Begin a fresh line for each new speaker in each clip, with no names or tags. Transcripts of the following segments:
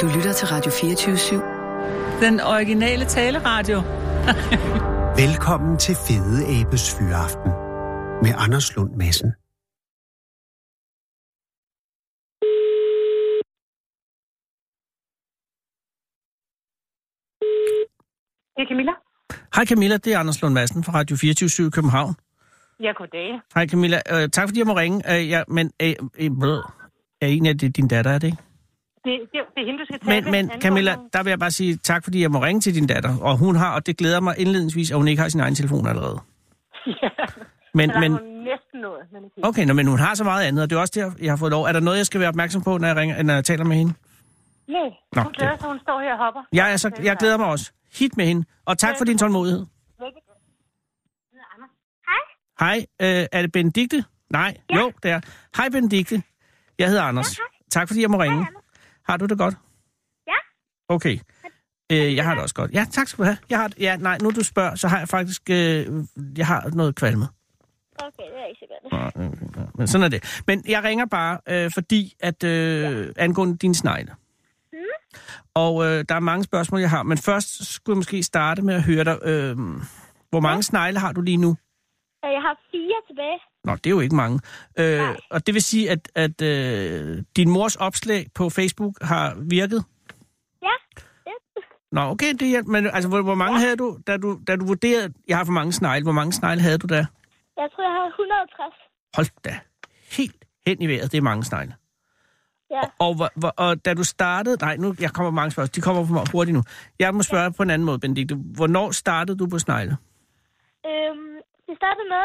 Du lytter til Radio 24-7.
Den originale taleradio.
Velkommen til Fede Abes Fyraften med Anders Lund Madsen.
Det er Camilla.
Hej Camilla, det er Anders Lund Madsen fra Radio 24 i København.
Ja, goddag.
Hej Camilla, øh, tak fordi jeg må ringe, øh, ja, men øh, øh, blød. er en af det, din datter, er det ikke?
Det, det, det er hende, du skal tale
Men,
med.
men
Anden
Camilla,
omgang.
der vil jeg bare sige tak, fordi jeg må ringe til din datter, og hun har, og det glæder mig indledningsvis, at hun ikke har sin egen telefon allerede.
ja.
Men,
men...
men,
Hun næsten noget, men ikke helt.
okay, nå, men hun har så meget andet, og det er også det, jeg har fået lov. Er der noget, jeg skal være opmærksom på, når jeg, ringer, når jeg taler med hende?
Nej,
Nå,
hun glæder
det-
sig, hun står her og hopper.
Jeg, er så, jeg glæder mig også. Hit med hende, og tak for din tålmodighed. Hej, øh, er det Benedikte? Nej, ja. jo, det er. Hej Benedikte, jeg hedder Anders. Ja, tak fordi jeg må ringe. har du det godt? Ja. Okay. Øh, jeg har det også godt. Ja, tak skal du have. Jeg har, ja, nej, nu du spørger, så har jeg faktisk øh, jeg har noget kvalme.
Okay, det er ikke så godt.
Nå, øh, øh, Men sådan er det. Men jeg ringer bare, øh, fordi at øh, ja. angående dine snegle. Og øh, der er mange spørgsmål, jeg har. Men først skulle jeg måske starte med at høre dig. Øh, hvor mange snegle har du lige nu?
Øh, Jeg har fire tilbage.
Nå, det er jo ikke mange. Øh, og det vil sige, at, at øh, din mors opslag på Facebook har virket?
Ja. Ja.
Nå, okay, det hjælper. Men altså, hvor, hvor mange ja. havde du, da du, da du vurderede, at jeg har for mange snegle, hvor mange snegle havde du da?
Jeg tror, jeg har 160.
Hold da, helt hen i vejret, det er mange snegle.
Ja.
Og, hvor, hvor, og da du startede, nej, nu, jeg kommer mange spørgsmål, de kommer for mig hurtigt nu. Jeg må spørge ja. på en anden måde, Benedikte. Hvornår startede du på snegle?
Øhm, det startede med,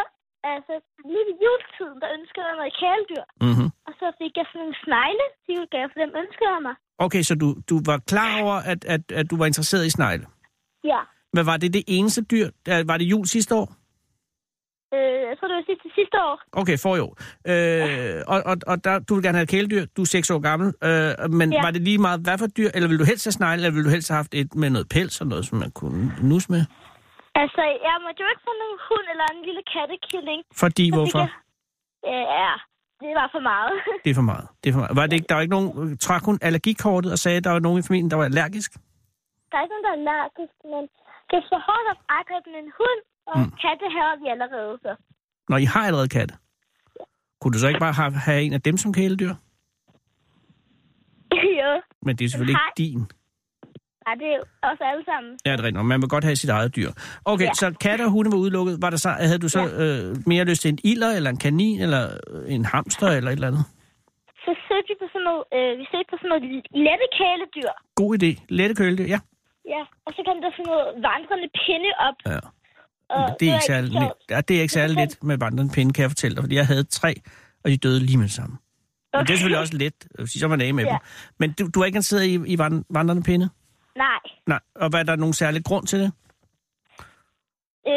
altså lige ved juletiden, der ønskede jeg mig et kæledyr.
Mm-hmm.
Og så fik jeg sådan en snegle til julegave, for dem ønskede jeg mig.
Okay, så du, du var klar over, at, at, at du var interesseret i snegle.
Ja.
Men var det det eneste dyr? Øh, Var det jul sidste år?
Øh, jeg tror, det var sidste, sidste år.
Okay, for jo. Øh, og og, og der, du vil gerne have et kæledyr, du er seks år gammel, øh, men ja.
Ja.
var det lige meget, hvad for et dyr, eller vil du helst have snegle, eller vil du helst have haft et med noget pels og noget, som man kunne nus med?
Altså, jeg måtte jo ikke få nogen hund eller en lille kattekilling.
Fordi,
Så
hvorfor?
Fik jeg, øh, ja, det var for meget.
Det er for meget. Det er for meget. Var det ikke, der var ikke nogen, trak hun allergikortet og sagde, at der var nogen i familien, der var allergisk?
der er ikke nogen, der er allergisk, men det er for hårdt at angribe med en hund, og mm. katte har vi allerede så.
Når I har allerede katte. Kunne du så ikke bare have, have en af dem som kæledyr?
jo,
Men det er selvfølgelig
Nej.
ikke din.
nej, det er jo os alle sammen.
Ja, det er rigtigt. nok. Man vil godt have sit eget dyr. Okay, ja.
Ja.
så katte og hunde var udelukket. Var der så, havde du så ja. øh, mere lyst til en ilder, eller en kanin, eller øh, en hamster, eller et eller andet?
så søgte vi på sådan noget, øh, vi søgte på sådan noget lette kæledyr.
God idé. Lette køledyr, ja.
Ja, og så kom der sådan noget vandrende pinde op.
ja.
Og
Det er
var
ikke særlig,
sjovt.
ja, det er ikke særlig let med vandrende pinde, kan jeg fortælle dig, fordi jeg havde tre, og de døde lige med det samme. Men det er
Okay.
selvfølgelig også let, øh, fordi så er man af med ja.
Ja.
dem. Men du, du er ikke interesseret i, i vand- vandrende pinde?
Nej,
Nej. Og var der nogen særlig grund til det?
øh,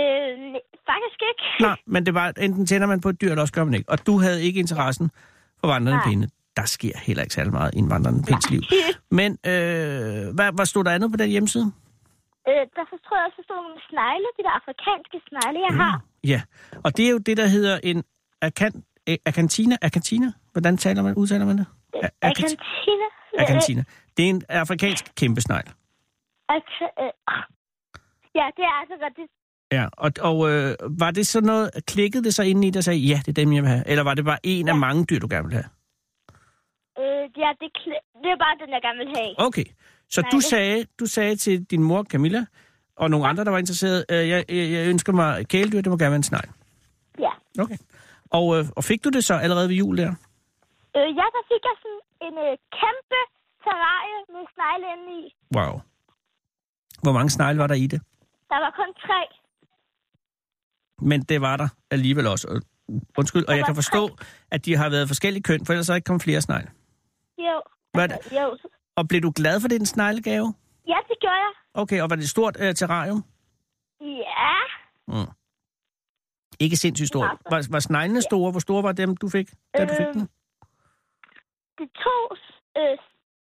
ne- faktisk ikke.
Nej, men det var, enten tænder man på et dyr, eller også gør man ikke. Og du havde ikke interessen for vandrende
Nej.
pinde. Der sker heller ikke særlig meget i en vandrende pinds liv. Men øh, hvad, hvad stod der andet på den hjemmeside?
Øh, der så tror jeg også, der stod nogle snegle, de der afrikanske snegle,
Mm.
jeg har.
Ja, og det er jo det, der hedder en akan, øh, akantina. Akantina? Hvordan taler man, udtaler man det? A-
Er
akant-
kantina?
Akantina. Det er en afrikansk kæmpesnegl.
Øh, altså, Ja, det er altså godt. Det,
Ja, og, og øh, var det sådan noget, klikkede det sig ind i, der sagde, ja, det er dem, jeg vil have? Eller var det bare en ja. af mange dyr, du gerne ville have?
øh, ja, det, kl- det er bare den, jeg gerne vil have.
Okay, så
Nej,
du
det-
sagde, du sagde til din mor Camilla, og nogle andre, der var interesseret, øh, jeg, jeg, jeg ønsker mig et kæledyr, det må gerne være en snegl.
Ja.
Okay. Og, øh, og fik du det så allerede ved jul der?
Øh, ja, der fik jeg sådan en øh, kæmpe terrarie med snegle inde i.
Wow. Hvor mange snegle var der i det?
Der var kun tre.
Men det var der alligevel også. Og- Undskyld, og jeg kan forstå, at de har været forskellige køn, for ellers er der ikke kommet flere snegle.
Jo.
Hvad er det?
Altså, jo.
Og blev du glad for den sneglegave?
Ja, det gjorde jeg.
Okay, og var det et stort øh, terrarium? Mm.
Ja,
Ikke sindssygt stort.
meget
Var, var sneglene store? Hvor store var dem, du fik, da du fik
Øh,
den?
det er to øh,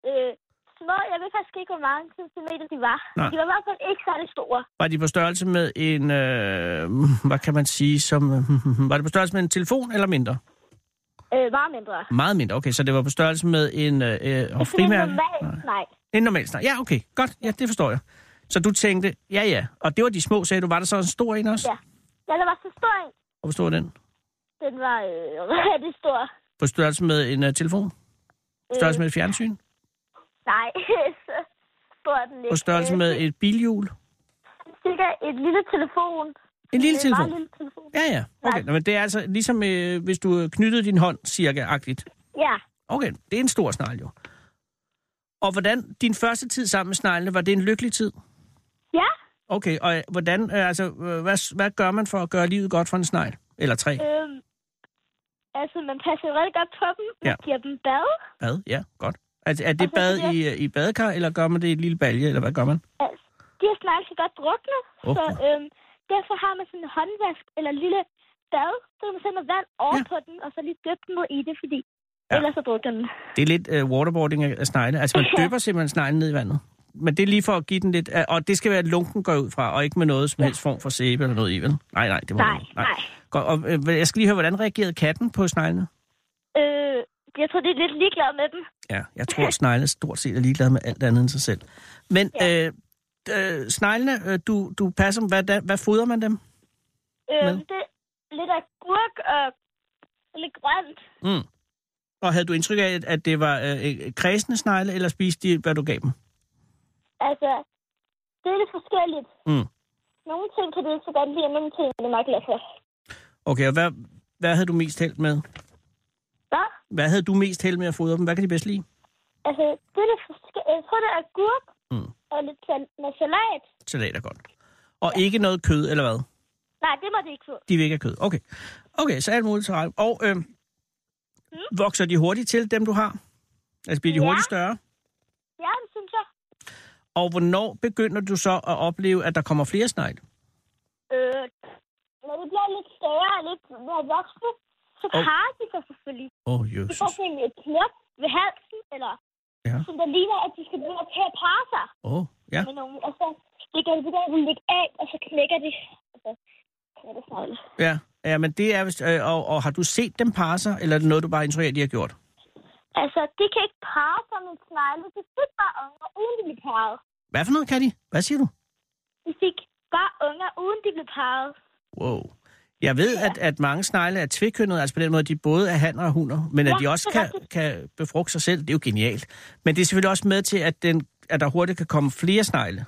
øh, små, jeg ved faktisk ikke, hvor mange centimeter de var.
Nej.
De var i hvert fald ikke særlig store.
Var de på størrelse med en, øh, hvad kan man sige, som, var det på størrelse med en telefon eller mindre?
Øh, meget mindre.
Meget mindre. Okay, så det var på størrelse med en øh, øh,
Sådan en
frimærke?
normal snegl.
En normal snegl. Ja, okay. Godt. Ja, det forstår jeg. Så du tænkte, ja, ja. Og det var de små, sagde du. Var der så en stor en også?
Ja. Ja, der var så stor en.
Og hvor stor er den?
Den var øh, rigtig stor.
På størrelse med en øh, telefon? På størrelse med et fjernsyn?
Nej, så stor er den ikke.
På størrelse
Øh,
med et bilhjul?
Cirka et lille telefon.
En lille
En meget
telefon?
lille telefon.
Ja, ja. Okay, Nå, men det er altså ligesom, øh, hvis du øh, knyttede din hånd cirka-agtigt.
Ja.
Okay, det er en stor snegl jo. Og hvordan, din første tid sammen med sneglene, var det en lykkelig tid?
Ja,
Okay, og øh, hvordan, øh, altså, øh, hvad, hvad gør man for at gøre livet godt for en snegl? Eller tre?
øh, altså man passer jo rigtig godt på dem. Man
Ja.
giver dem bad.
Bad, ja, godt. Er, er det
Altså,
bad
det er-
i, øh, i badekar, eller gør man det i et lille balje, eller hvad gør man?
Altså, de har snart så godt druknet,
Okay.
så øhm, derfor har man sådan en håndvask eller en lille bad, så kan man sætte noget vand over
Ja.
ja. på den, og så lige dyppe den mod i det, fordi
Ja.
ja. ellers så drukner den.
Det er lidt øh, waterboarding af af snegle. Altså, man dypper simpelthen sneglen ned i vandet. Men det er lige for at give den lidt... øh, Og det skal være, at lunken går ud fra, og ikke med noget som helst form for sæbe eller noget i, vel? Nej, nej, det må
Nej,
man ikke.
nej.
Godt, og øh, jeg skal lige høre, hvordan reagerede katten på sneglene?
Øh, jeg tror, det er lidt ligeglad med dem.
Ja, jeg tror, at sneglene stort set er ligeglade med alt andet end sig selv. Men ja. øh, øh, sneglene, øh, du, du passer dem. Hvad, da- hvad fodrer man dem?
Øh,
Hvad?
det er lidt af gurk og lidt grønt.
Og havde du indtryk af, at- at det var øh, øh, kredsende snegle, eller spiste de, hvad du gav dem?
Altså, det er lidt forskelligt.
Mm.
Nogle ting kan det ikke så godt lide, og nogle ting er det meget glad for.
Okay, og hvad, hvad havde du mest held med?
Hvad?
Hvad havde du mest held med at fodre dem? Hvad kan de bedst lide?
Altså, det er lidt forskelligt. Jeg tror, det er gurk
Mm.
og lidt sal- med salat.
Salat er godt. Og ikke noget kød, eller hvad?
Nej, det må det ikke få.
De vil ikke have kød. Okay, okay så alt muligt. Så og øh, vokser de hurtigt til, dem du har? Altså bliver de
Ja.
hurtigt større?
Ja, det synes jeg.
Og hvornår begynder du så at opleve, at der kommer flere snegle?
Øh, når det bliver lidt større og lidt mere voksne, så
Og-
parer de sig selvfølgelig.
Åh, oh,
De
Jesus.
får sådan et knop ved halsen, eller
Ja.
ja. som der ligner, at de skal begynde til at parre sig
Åh, oh, ja.
med nogen. Og så det kan de begynde at lægge af, og så knækker de. Og så knækker det savle.
ja. Ja, men det er vist... Øh, og, og har du set dem parre sig, eller er det noget, du bare instruerer, de har gjort?
Altså, de kan ikke parre sig med snegle. De fik bare unger, uden de blev parret.
Hvad for noget, kan de? Hvad siger du?
De fik bare unger, uden de blev parret.
Wow. Jeg ved, at, at mange snegle er tvikønnede, altså på den måde, at de både er hanner og hunder, men at
Ja,
de også
det er
kan, kan befrugte sig selv, det er jo genialt. Men det er selvfølgelig også med til, at, den, at der hurtigt kan komme flere snegle.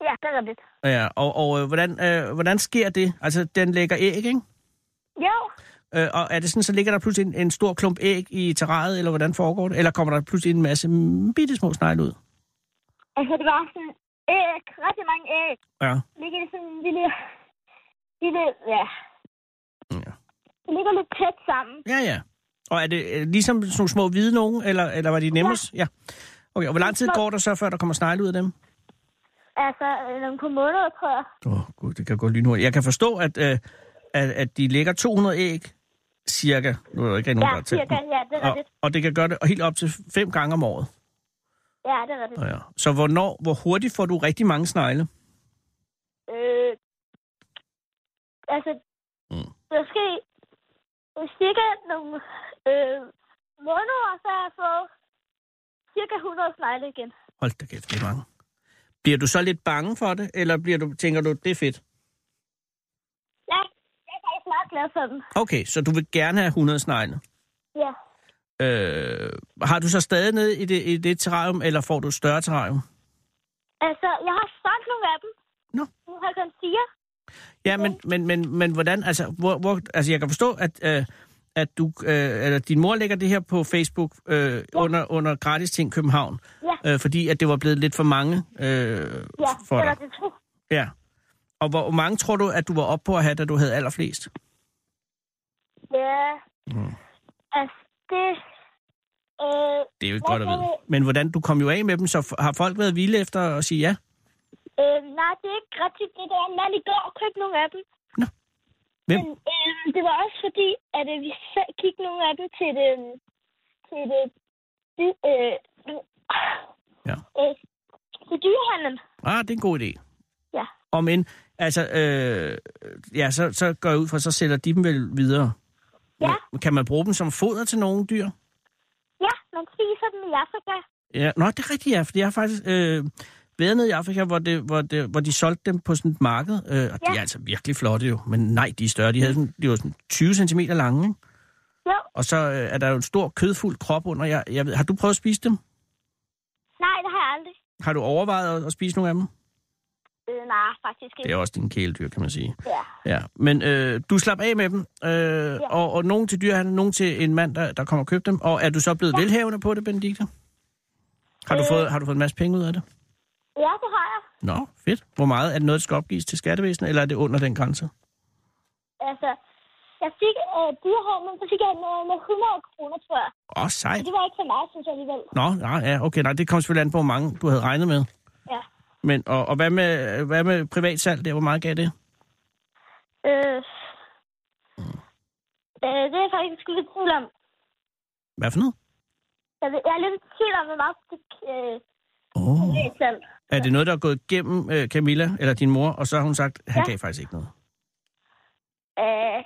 Ja, det er rigtigt.
Ja, og og øh, hvordan, øh, hvordan sker det? Altså, den lægger æg, ikke?
Jo,
Øh, og er det sådan, så ligger der pludselig en, en stor klump æg i terrariet, eller hvordan foregår det? Eller kommer der pludselig en masse bitte små snegle ud?
altså det var sådan æg, rigtig mange øh, æg.
Ja.
ligger det sådan en lille, lille, ja.
Ja.
Det ligger lidt tæt sammen.
Ja, ja. Og er det øh, ligesom sådan nogle små hvide nogen, eller, eller var de nemmest? Ja. Okay, og hvor lang tid går der så, før der kommer snegle ud af dem?
Altså, øh, nogle på måneder, tror jeg.
Åh, oh, gud, det kan gå lynhurtigt. Jeg kan forstå, at, øh, at, at de lægger 200 æg, cirka. Nu er der ikke rigtig
Ja,
nogen, der har talt
cirka.
dem.
Ja, det er
og,
rigtigt.
og det kan gøre det helt op til fem gange om året.
Ja, det er rigtigt.
Ja. Så hvornår, hvor hurtigt får du rigtig mange snegle?
Øh, altså,
Mm.
måske øh, cirka nogle øh, måneder, så har jeg fået cirka 100 snegle igen.
Hold da kæft, det er mange. Bliver du så lidt bange for det, eller bliver du, tænker du, det er fedt?
Ja, jeg er faktisk meget glad for dem.
Okay, så du vil gerne have 100 snegle.
Ja.
Øh, har du så stadig nede i det, i det terrarium, eller får du et større terrarium?
Altså, jeg har solgt nogle af dem.
Nå.
Nu har jeg kun fire.
Ja, men, men, men, men hvordan, altså, hvor, hvor, altså jeg kan forstå, at, øh, at du, øh, eller din mor lægger det her på Facebook øh, ja. under, under gratis ting København,
Ja.
øh, fordi at det var blevet lidt for mange øh,
Ja,
for
eller
dig.
det to.
Ja. Og hvor mange tror du, at du var oppe på at have, da du havde allerflest?
Ja. Mm. Altså, det... Øh,
Det er jo ikke
Jeg
godt at vide.
tror-
Men hvordan, du kom jo af med dem, så f- har folk været vilde efter at sige ja?
øh, nej, det er ikke rigtigt. Det der en mand i går købte nogle af dem.
Nå. Hvem?
Men, øh, det var også fordi, at øh, vi selv gik nogle af dem til det... Til det... det øh,
Ja.
Øh, til dyrehandlen.
Ah, det er en god idé.
Ja.
Om end, altså, øh, ja, så, så går jeg ud fra, så sælger de dem vel videre.
Ja.
Men Kan man bruge dem som foder til nogle dyr?
Ja, man spiser dem i Afrika.
Ja, nå, det er rigtigt, ja, fordi jeg har faktisk øh, været nede i Afrika, hvor, det, hvor, det, hvor de solgte dem på sådan et marked, øh, og ja. de er altså virkelig flotte jo, men nej, de er større, de, havde sådan, de var sådan 20 cm lange, ikke?
Jo.
og så øh, er der jo en stor kødfuld krop under, jeg, jeg ved, har du prøvet at spise dem?
Nej, det har jeg aldrig.
Har du overvejet at, at spise nogle af dem?
Øh, nej, faktisk
Det
ikke.
er også din kæledyr, kan man sige.
Ja.
Ja, men øh, du slap af med dem, øh, ja. og, og nogen til dyrehandel, nogen til en mand, der, der kommer og køber dem. Og er du så blevet ja. velhavende på det, Benedikte? Har du,
Øh.
fået, har du fået en masse penge ud af det?
Ja, det har jeg.
Nå, fedt. Hvor meget? Er det noget, der skal opgives til skattevæsenet, eller er det under den grænse?
Altså, jeg fik øh, dyrehavn, men så fik jeg noget med 100 kroner, tror jeg.
Åh, oh, sejt.
Det var ikke så meget, synes jeg alligevel.
Nå, nej, ja, okay, nej, det kom selvfølgelig an på, hvor mange du havde regnet med.
Ja.
Men, og, og hvad, med, hvad med privatsalg der? Hvor meget gav det?
Øh, øh, det er jeg faktisk lidt i tvivl om.
Hvad for noget?
Jeg, ved, jeg er lidt i tvivl om, hvor meget det øh,
Oh.
det er selv.
Er det noget, der er gået gennem øh, Camilla, eller din mor, og så har hun sagt, han
Ja.
gav faktisk ikke noget?
Øh,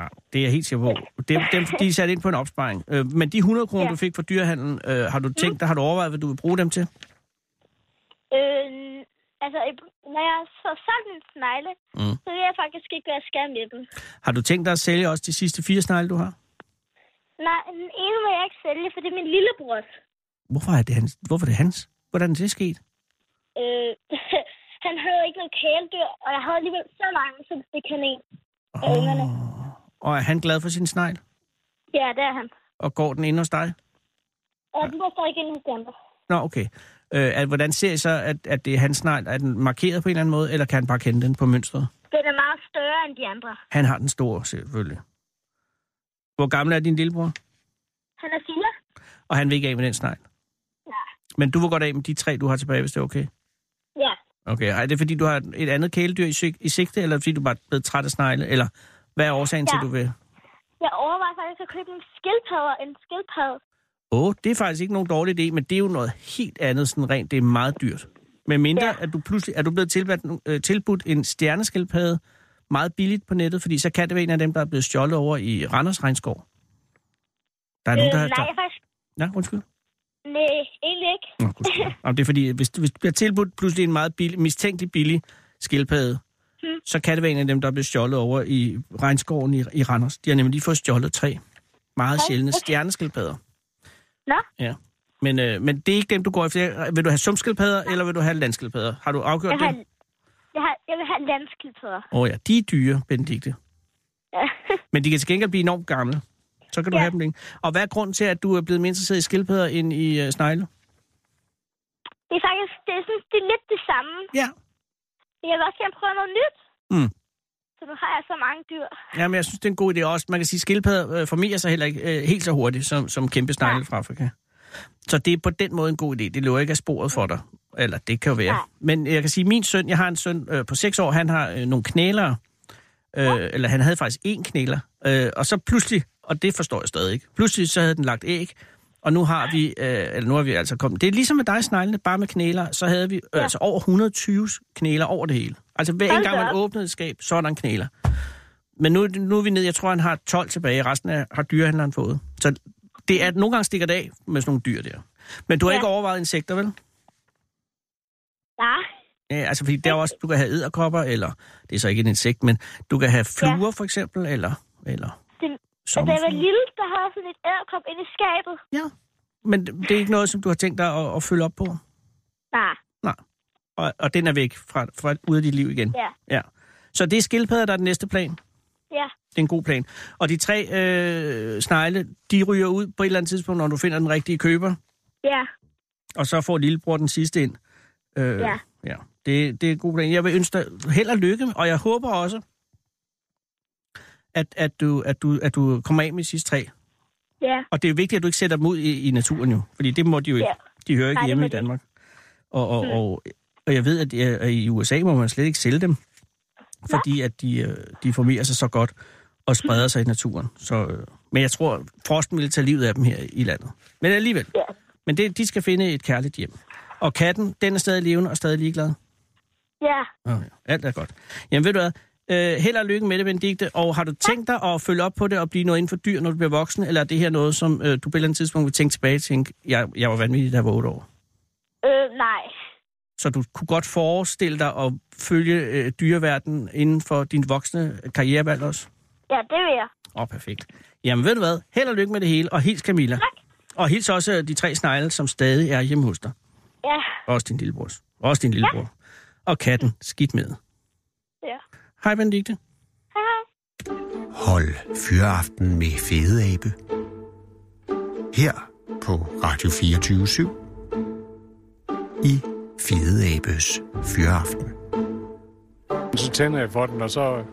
Nej, det er jeg helt sikker på. Dem, dem, de er sat ind på en opsparing. Øh, men de 100 kroner, ja.
Ja.
du fik fra dyrehandlen, øh, har du tænkt dig, har du overvejet, hvad du vil bruge dem til?
øh, altså, når jeg får solgt en snegle,
Mm.
mm. så ved jeg faktisk ikke, hvad jeg skal med dem.
Har du tænkt dig at sælge også de sidste fire snegle, du har?
Nej, den ene må jeg ikke sælge, for det er min lillebrors.
Hvorfor er det hans? Hvorfor er det hans? Hvordan er det sket?
Øh, han havde ikke nogen kæledyr, og jeg havde alligevel så mange, som det kan en.
Åh. Og er han glad for sin snegl?
Ja, det er han.
Og går den ind hos dig?
Og den var stadig inde hos de andre.
Nå, okay. Øh, at, hvordan ser I så, at, at det er hans snegl? Er den markeret på en eller anden måde, eller kan han bare kende den på mønstret?
Den er meget større end de andre.
Han har den store, selvfølgelig. Hvor gammel er din lillebror?
Han er fire.
Og han vil ikke af med den snegl?
Ja.
Men du vil godt af med de tre, du har tilbage, hvis det er okay?
Ja.
Okay, og er det fordi, du har et andet kæledyr i, sig- i sigte, eller er det fordi, du bare er blevet træt af snegle? Eller hvad er årsagen ja.
Ja.
til, du vil?
Jeg overvejer faktisk at købe en skildpadde, en skildpadde.
Åh, oh, det er faktisk ikke nogen dårlig idé, men det er jo noget helt andet sådan rent. Det er meget dyrt. Men mindre, ja.
Ja.
at du pludselig er du blevet tilbudt, øh, tilbudt en stjerneskildpadde meget billigt på nettet, fordi så kan det være en af dem, der er blevet stjålet over i Randers Regnskov. Der er nogen, der...
øh, nej, jeg
der...
faktisk...
Ja, undskyld.
Nej, egentlig ikke.
Nå, undskyld. Jamen, det er fordi, hvis, hvis du bliver tilbudt pludselig en meget billig, mistænkelig billig skildpadde,
Mm.
hmm. så kan det være en af dem, der er blevet stjålet over i regnskoven i, i Randers. De har nemlig lige fået stjålet tre meget
Hold
sjældne
op.
stjerneskildpadder.
Nå.
Ja. Men, øh, men det er ikke dem, du går efter. Vil du have sumskildpadder, eller vil du have landskildpadder? Har du afgjort
Jeg, har,
det?
jeg, har, jeg vil have landskildpadder.
Åh oh, ja, de er dyre, Benedikte.
Ja.
Men de kan til gengæld blive enormt gamle. Så kan du
Ja.
have dem længe. Og hvad er grunden til, at du er blevet mere interesseret i skildpadder end i øh, snegle?
Det er faktisk det er, sådan, det er lidt det samme.
Ja,
Men Jeg vil også gerne prøve noget nyt.
Mm.
Så nu har jeg så mange dyr.
Jamen, jeg synes, det er en god idé også. Man kan sige, at skildpadder øh, formerer sig heller ikke øh, helt så hurtigt som, som kæmpe snegle
Nej.
fra Afrika. Så det er på den måde en god idé. Det løber ikke af sporet for dig. Eller det kan jo være.
Nej.
Men jeg kan sige, at min søn, jeg har en søn øh, på 6 år, han har øh, nogle knælere. Øh, Eller han havde faktisk én knæler. Øh, og så pludselig, og det forstår jeg stadig ikke, pludselig så havde den lagt æg. Og nu har vi, øh, eller nu har vi altså kommet, det er ligesom med dig, sneglene, bare med knæler, så havde vi øh, altså over 120 knæler over det hele. Altså hver
Hold
eneste gang
da
man
op.
åbnede et skab, så er der en knæler. Men nu, nu er vi nede, jeg tror, han har 12 tilbage. Resten af, har dyrehandleren fået. Så det er, at nogle gange stikker det af med sådan nogle dyr der. Men du har ja.
Ja.
ikke overvejet insekter, vel?
Ja.
Ja, altså, fordi der er jo også, du kan have æderkopper, eller det er så ikke et insekt, men du kan have fluer, ja. for eksempel, eller, eller
Det- Og Altså, da jeg var
sommerfugle.
lille, der havde jeg sådan et æderkop inde i skabet.
Ja, men det er ikke noget, som du har tænkt dig at, at følge op på.
Nej.
Og, og den er væk fra, fra ud af dit liv igen.
Ja.
ja. Så det er skildpadder, der er den næste plan.
Ja.
Det er en god plan. Og de tre øh, snegle, de ryger ud på et eller andet tidspunkt, når du finder den rigtige køber,
Ja.
og så får lillebror den sidste ind. Øh,
Ja.
ja. Det, det er en god plan. Jeg vil ønske dig held og lykke, og jeg håber også, at, at, du, at, du, at du kommer af med de sidste tre.
Ja.
Og det er vigtigt, at du ikke sætter dem ud i, i naturen jo, fordi det må de jo ikke.
Ja.
De hører ikke
Nej, det
hjemme
må
i
de ikke. Mm.
Danmark. Og, og, og, og jeg ved, at i- at i USA må man slet ikke sælge dem, fordi at de, øh, de formerer sig så godt og spreder sig i naturen. Så, øh, men jeg tror, at frosten ville tage livet af dem her i landet. Men alligevel.
Ja.
Men det, de skal finde et kærligt hjem. Og katten, den er stadig levende og stadig ligeglad.
Ja.
Okay. Alt er godt. Jamen ved du hvad, Øh, held og lykke med det, Benedikte. Og har du tænkt dig at følge op på det og blive noget inden for dyr, når du bliver voksen? Eller er det her noget, som øh, du på et eller andet tidspunkt vil tænke tilbage og tænke, jeg, jeg var vanvittig, da jeg var otte år?
Øh, nej.
Så du kunne godt forestille dig at følge øh, dyreverdenen inden for din voksne karrierevalg også?
Ja, det vil jeg.
Åh, oh, perfekt. Jamen ved du hvad, held og lykke med det hele, og hils Camilla. Tak. Og hils også øh, de tre snegle, som stadig er hjemme hos dig.
Ja,
Også din lillebror. Også din lillebror. Ja. Og katten, skidt med.
ja.
Hej, Benedikte.
Hej, hej.
Hold Fyraften med Fede Abe. Her på Radio 24 I Fede Abes Fyraften.
Så tænder jeg for den, og så,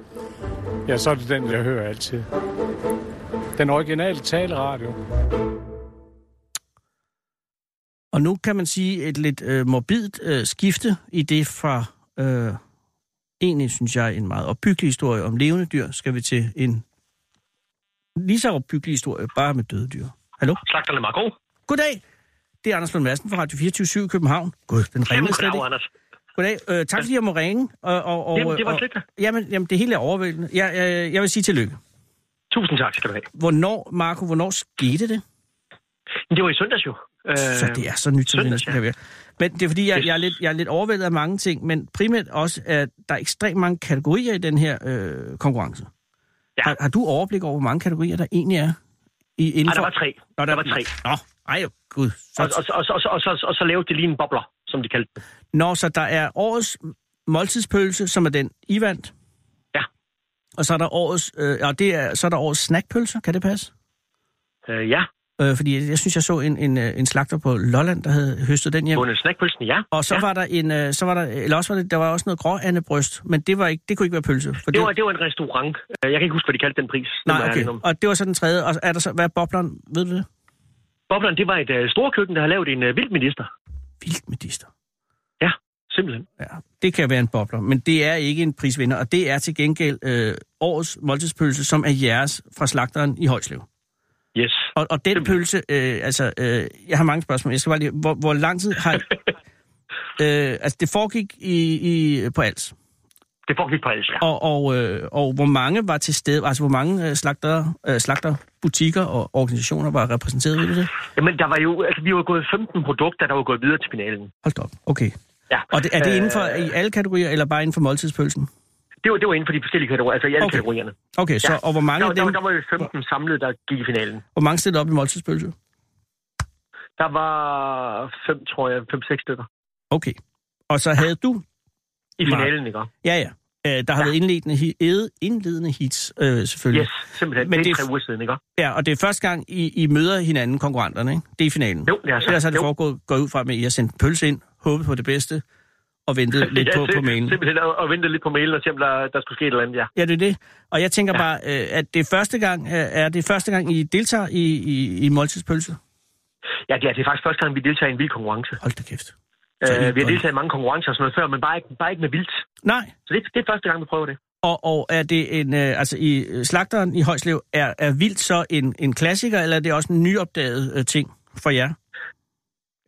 ja, så er det den, jeg hører altid. Den originale taleradio.
Og nu kan man sige et lidt øh, morbidt øh, skifte i det fra øh, egentlig, synes jeg, en meget opbyggelig historie om levende dyr, skal vi til en lige så opbyggelig historie, bare med døde dyr. Hallo?
Slagterne Marco.
Goddag! Det er Anders Lund Madsen fra Radio 24 i København. Gud, den ringer
Jamen,
slet
goddag,
ikke.
Anders.
Goddag. Øh, tak fordi jeg må ringe. Og, og, og,
Jamen, det var
og,
slet ikke.
Jamen, jamen, det hele er overvældende. Jeg, jeg, jeg vil sige tillykke.
Tusind tak skal du have.
Hvornår, Marco, hvornår skete det?
Men det var i søndags jo. Øh,
Så det er så nyt, som det
søndags,
næsten
ja.
kan være. Men det er fordi, jeg,
Yes.
jeg, er lidt, jeg er lidt overvældet af mange ting, men primært også, at der er ekstremt mange kategorier i den her øh, konkurrence.
Ja.
Har, har du overblik over, hvor mange kategorier der egentlig er? I, inden
Ej, der
for-
var tre.
Nå,
der var tre.
Nå, ej, gud. Så,
Og, og, og, og, og, og, så, og så lavede de lige en bobler, som de kaldte den.
Nå, så der er årets måltidspølse, som er den, I vandt.
Ja.
Og så er der årets, øh, og det er, så er der årets snackpølse, kan det passe?
Øh, ja,
Øh, fordi jeg, jeg synes, jeg så en, en, øh, en slagter på Lolland, der havde høstet den hjem.
bundet snackpølsen, ja.
Og så
ja.
ja. var der en, øh, så var der, eller også var det, der var også noget gråandebryst, men det var ikke, det kunne ikke være pølse. For
Det var, det var en restaurant. Øh, Jeg kan ikke huske, hvad de kaldte den pris. øh, Det må
nej,
jeg
okay.
ærlig om.
Og det var så den tredje, og er der så, hvad er bobleren, ved du det?
Bobleren, det var et uh, storkøkken, der havde lavet en uh, vildminister.
Vildt med dister.
Simpelthen.
Ja, det kan være en bobler, men det er ikke en prisvinder, og det er til gengæld øh, årets måltidspølse, som er jeres fra slagteren i Højslev.
Yes.
Og, og den
Simpelthen.
pølse, øh, altså, øh, jeg har mange spørgsmål, jeg skal bare lige, hvor, hvor lang tid har... øh, altså, det foregik i, i, på Als,
Det får vi på alles, ja.
og, og, øh, og hvor mange var til stede, altså hvor mange øh, slagter, øh, slagter, butikker og organisationer var repræsenteret ved det?
Jamen, der var jo, altså, vi var gået 15 produkter, der var gået videre til finalen.
Hold da op, okay.
Ja.
Og det, er det inden for
Øh,
i alle kategorier, eller bare inden for måltidspølsen?
det, var, det var inden for de forskellige kategorier, altså i alle
Okay.
okay. kategorierne.
Okay, så,
Ja.
og hvor mange,
Der,
af
der,
dem,
der var jo 15 samlet, der gik i finalen.
hvor mange stillede op i måltidspølse?
Der var fem, tror jeg, fem-seks stykker
Okay. Og så havde du,
i
Nej.
finalen, ikke?
ja ja, øh, der har været indledende, he- ede- indledende hits, øh, selvfølgelig.
Yes, simpelthen.
Men
Men det er
det-
tre uger siden, ikke?
Ja, og det er første gang, I, I møder hinanden, konkurrenterne, ikke? Det er i finalen.
Jo, det er så.
Ellers har det
Jo.
foregået, gået ud fra med, at I har sendt pølse ind, håbet på det bedste, og ventet lidt
Ja,
på, på
sim-
mailen.
Simpelthen og, og vente lidt på mailen og se, om der, der skulle ske et eller andet, ja.
Ja, det er det. Og jeg tænker ja.
Ja.
bare, øh, at det er første gang, øh, er det første gang, I deltager i, i, i måltidspølse?
Ja, det er, det er faktisk første gang, vi deltager i en vild konkurrence.
Hold da kæft. Så I
Øh, vi har
godt.
deltaget i mange konkurrencer og sådan noget før, men bare ikke, bare ikke med vildt.
Nej.
Så det, det er første gang, vi prøver det.
Og, og er det en, øh, altså i øh, slagteren i Højslev, er, er vildt så en, en klassiker, eller er det også en nyopdaget øh, ting for jer?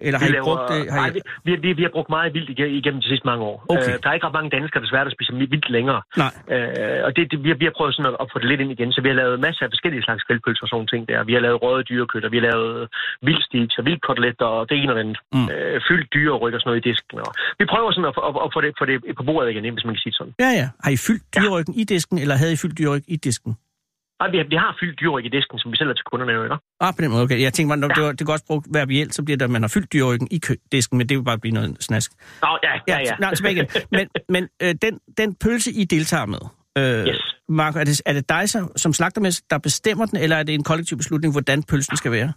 Eller har
vi
I brugt det? Har
nej,
I...
vi, vi, vi, vi har brugt meget vildt ige- igennem de sidste mange år. Øh,
Okay.
der er ikke ret mange danskere, desværre, der spiser vildt længere.
Nej.
Øh, og det, det, vi, har, vi har prøvet sådan at, at få det lidt ind igen, så vi har lavet masser af forskellige slags grillpølser og sådan nogle ting der. Vi har lavet røde dyrekød, og vi har lavet vildstiks og vildkoteletter og det ene og det andet.
Mm.
Mm. Øh, fyldt dyreryg og sådan noget i disken. Og vi prøver sådan at, at, at få, det, få det på bordet igen, hvis man kan sige det sådan.
Ja, ja. Har I fyldt dyrryggen i disken, eller havde I fyldt dyrryg i disken?
Nej, vi, har- vi har fyldt dyreryg i disken, som vi sælger til kunderne jo, ikke?
Ah, på den måde, okay. Jeg tænkte, man, det, var, det kan også brugt verbielt, så bliver det, at man har fyldt dyrryggen i kø- disken, men det vil bare blive noget snask.
Nå, ja, ja, ja.
t- Nej, tilbage igen. Men, men øh, den, den pølse, I deltager med, øh,
Yes.
Marco, er det, er det dig som, som slagtermester, der bestemmer den, eller er det en kollektiv beslutning, hvordan pølsen skal være?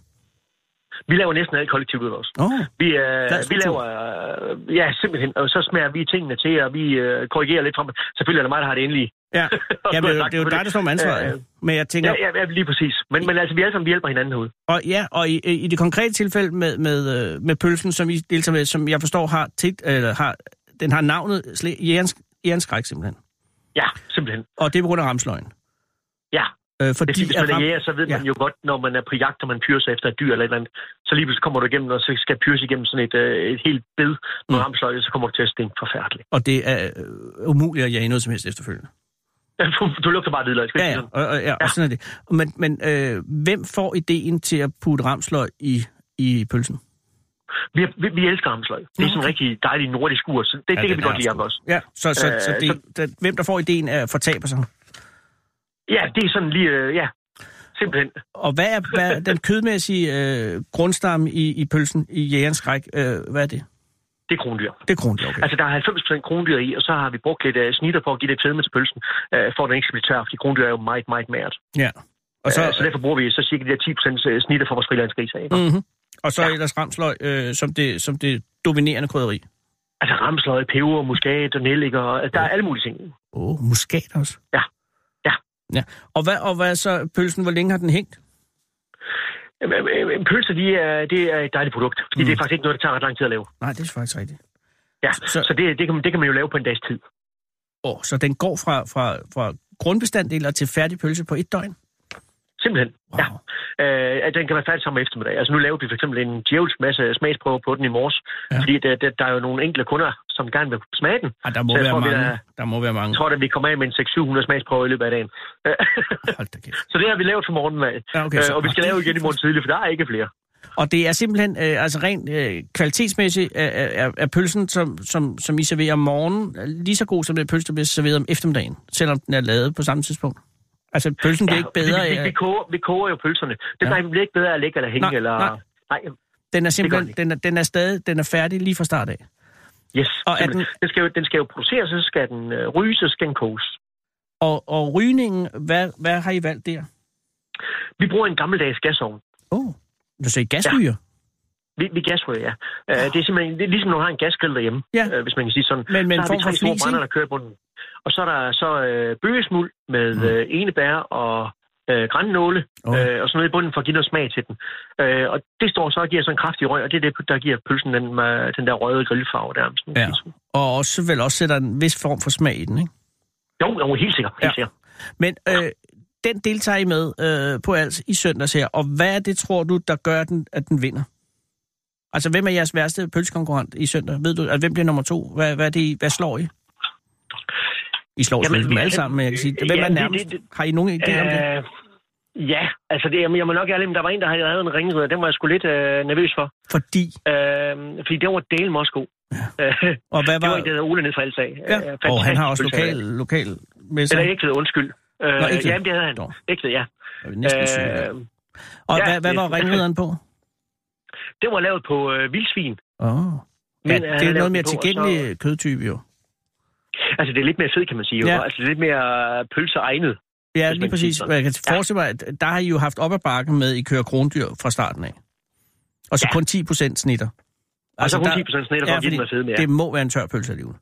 Vi laver næsten alt kollektivt ud af os.
Åh, oh,
Vi, øh,
Dansk
vi
kultur.
laver, øh, ja, simpelthen, og så smager vi tingene til, og vi øh, korrigerer lidt frem. Selvfølgelig er det mig, der har det endelige.
ja. ja men, det, er jo-
Tak
det er jo
for
dig,
det.
der står med ansvaret.
Øh,
Øh, men jeg tænker,
Ja, ja, ja lige præcis. Men, men altså, vi alle sammen vi hjælper hinanden herude.
Og, ja, og i, i det konkrete tilfælde med, med, øh, med pølsen, som I deltager med, som jeg forstår har, tit, eller har, den har navnet sle- jægerens, jægerskræk simpelthen.
Ja, simpelthen.
Og det er på grund af ramsløgn.
Ja,
Øh,
det
fordi
er, fordi, hvis man
at
er
ram-
jæger, så ved
Ja.
ja. man jo godt, når man er på jagt, og man pyrer sig efter et dyr eller et eller andet, så lige pludselig kommer du igennem, og så skal pyres igennem sådan et, øh, et helt bed med
Mm.
mm. ramsløg, så kommer du til at stinke forfærdeligt.
og det er øh, umuligt at jage noget som helst efterfølgende.
Du, du lugter bare hvidløg. skal
Ja, ja,
jeg sige
og, og, ja, og sådan er det. Men, men øh, hvem får ideen til at putte ramsløg i, i pølsen?
sådan. Vi, vi, vi elsker hamsløg. Det er sådan en rigtig dejlig nordisk ur. Så det, det kan
Mm. den
vi
er
godt lide
sgu-
ham også.
Ja, så, så,
Øh,
så, det, det, hvem der får ideen er fortaber sig.
Ja, det er sådan lige... Øh, ja, simpelthen.
Og hvad er, hvad er den kødmæssige øh, grundstamme i, i pølsen i jægerens skræk? Øh, hvad er det?
Det er krondyr.
Det er krondyr, okay.
Altså, der er 90% krondyr i, og så har vi brugt lidt uh, snitter på at give det fedme til pølsen, uh, for at den ikke skal blive tør, fordi krondyr er jo meget, meget mært.
Ja. Og
Og så,
så,
uh, så derfor bruger vi så cirka de der 10% øh, snitter fra vores frilandsgris af. Mm.
mm-hmm. og så ellers ramsløg øh, som, det, som det dominerende krydderi.
Altså ramsløg, peber, muskat og nelliker, og der er alle mulige ting.
Åh, oh, muskat også.
Ja. Ja.
ja. Og, hvad, og hvad så pølsen? Hvor længe har den hængt?
Jamen, øh, øh, Pølser, de er, det er et dejligt produkt, fordi mm. det er faktisk ikke noget, der tager ret lang tid at lave.
Nej, det er faktisk rigtigt.
Ja, så,
Så-
så det, det, kan, man- det kan man jo lave på en dags tid.
Åh, så den går fra, fra, fra grundbestanddeler til færdig pølse på et døgn?
Simpelthen,
Wow.
wow. ja. Øh, at den kan være færdig samme eftermiddag. Altså nu laver vi for eksempel en djævels masse smagsprøver på den i morges,
Ja.
ja. fordi der, der, der er jo nogle enkelte kunder, som gerne vil smage den.
Ah, der må
Så jeg
være
tror, vi
mange.
er-
Der må være mange.
Jeg tror, at vi kommer af med en 600-700 smagsprøver i løbet af dagen. Øh,
Hold da kæft.
så det har vi lavet for morgenen af.
Ja, okay,
Øh,
så-
og vi skal lave igen i morgen tidlig, for der er ikke flere.
Og det er simpelthen, øh, altså rent øh, kvalitetsmæssigt, er, er, er pølsen, som, som, som I serverer om morgenen, er lige så god som den pølse, der bliver serveret om eftermiddagen, selvom den er lavet på samme tidspunkt? Altså, pølsen bliver ikke bedre
vi, vi, vi,
af...
koger, vi koger jo pølserne. Den
Ja.
ja. bliver ikke bedre af at ligge eller hænge.
Nej,
eller...
nej.
nej.
Den er simpelthen,
det
den er, den er stadig, den er færdig lige fra start af.
Yes,
Og er
simpelthen. den... skal jo, den skal jo produceres, så skal den øh, ryges, så skal den koges.
Og, og rygningen, hvad, hvad har I valgt der?
Vi bruger en gammeldags gasovn.
Åh, oh, så I gasryger?
Vi, vi gasryger, ja. Øh, det er simpelthen det er ligesom, når du har en gasgrill derhjemme,
Ah. Ja.
øh, hvis man kan sige sådan.
Men- men
så
form
har vi
for
tre store
flis,
brænder,
ikke?
der kører på den. Og så er der så øh, bøgesmuld med mm. øh, enebær og øh, grænnåle
Åh.
oh. øh, og sådan noget i bunden for at give noget smag til den. Øh, og det står så og giver sådan en kraftig røg, og det er det, der giver pølsen den, øh, den der røde grillfarve der. Sådan
Ja.
ligesom.
Og også vel også sætter en vis form for smag i den, ikke?
Jo, jo, helt sikkert. Helt
Ja.
ja. sikkert.
Men øh, den deltager I med øh, på alt i søndags her, og hvad er det, tror du, der gør, den, at den vinder? Altså, hvem er jeres værste pølsekonkurrent i søndag? Ved du, altså, hvem bliver nummer to? Hvad, hvad, er det, I- hvad slår I? I slår
Jamen,
Jamen, dem
vi-
alle sammen, men jeg kan sige. Hvem
Ja,
er
det-
nærmest?
det- det-
Har I nogen idé om det?
Øh, ja, altså det, jamen, jeg må nok ærlig, men der var en, der havde lavet en ringrider. Den var jeg sgu lidt øh, nervøs for.
Fordi,
Øh, fordi den var delen også god. Ja.
og hvad
Det var
var...
ikke det, der Ole nede fra Alsag. Øh,
Ja. Og han har også
fantastisk
lokal,
pølse.
lokal med sig.
Eller ikke undskyld. Øh,
Nå, Egtved.
Jamen, det havde han.
Nå.
Ægte, ja.
Jeg er næsten syg, ja.
øh,
Og
ja,
hvad, hvad
det-
var ringlederen på?
det var lavet på øh, vildsvin.
Åh. Ja,
Men, øh, han
det er
lavede
noget
den
mere
på, og så-
tilgængelig kødtype, jo.
Altså, det er lidt mere fed, kan man sige.
Ja.
Ja. Altså, det er lidt mere øh, pølseegnet.
Ja, lige
hvis man kan sige
præcis.
sådan.
Og jeg kan forestille mig, at der har I jo haft op ad bakken med, at I kører krondyr fra starten af. Og så ja.
Ja.
kun 10 procent snitter.
Og så kun
Altså, der-
10% snitter, for
ja,
at
fordi
give den noget fed mere.
det må være en tør pølse alligevel.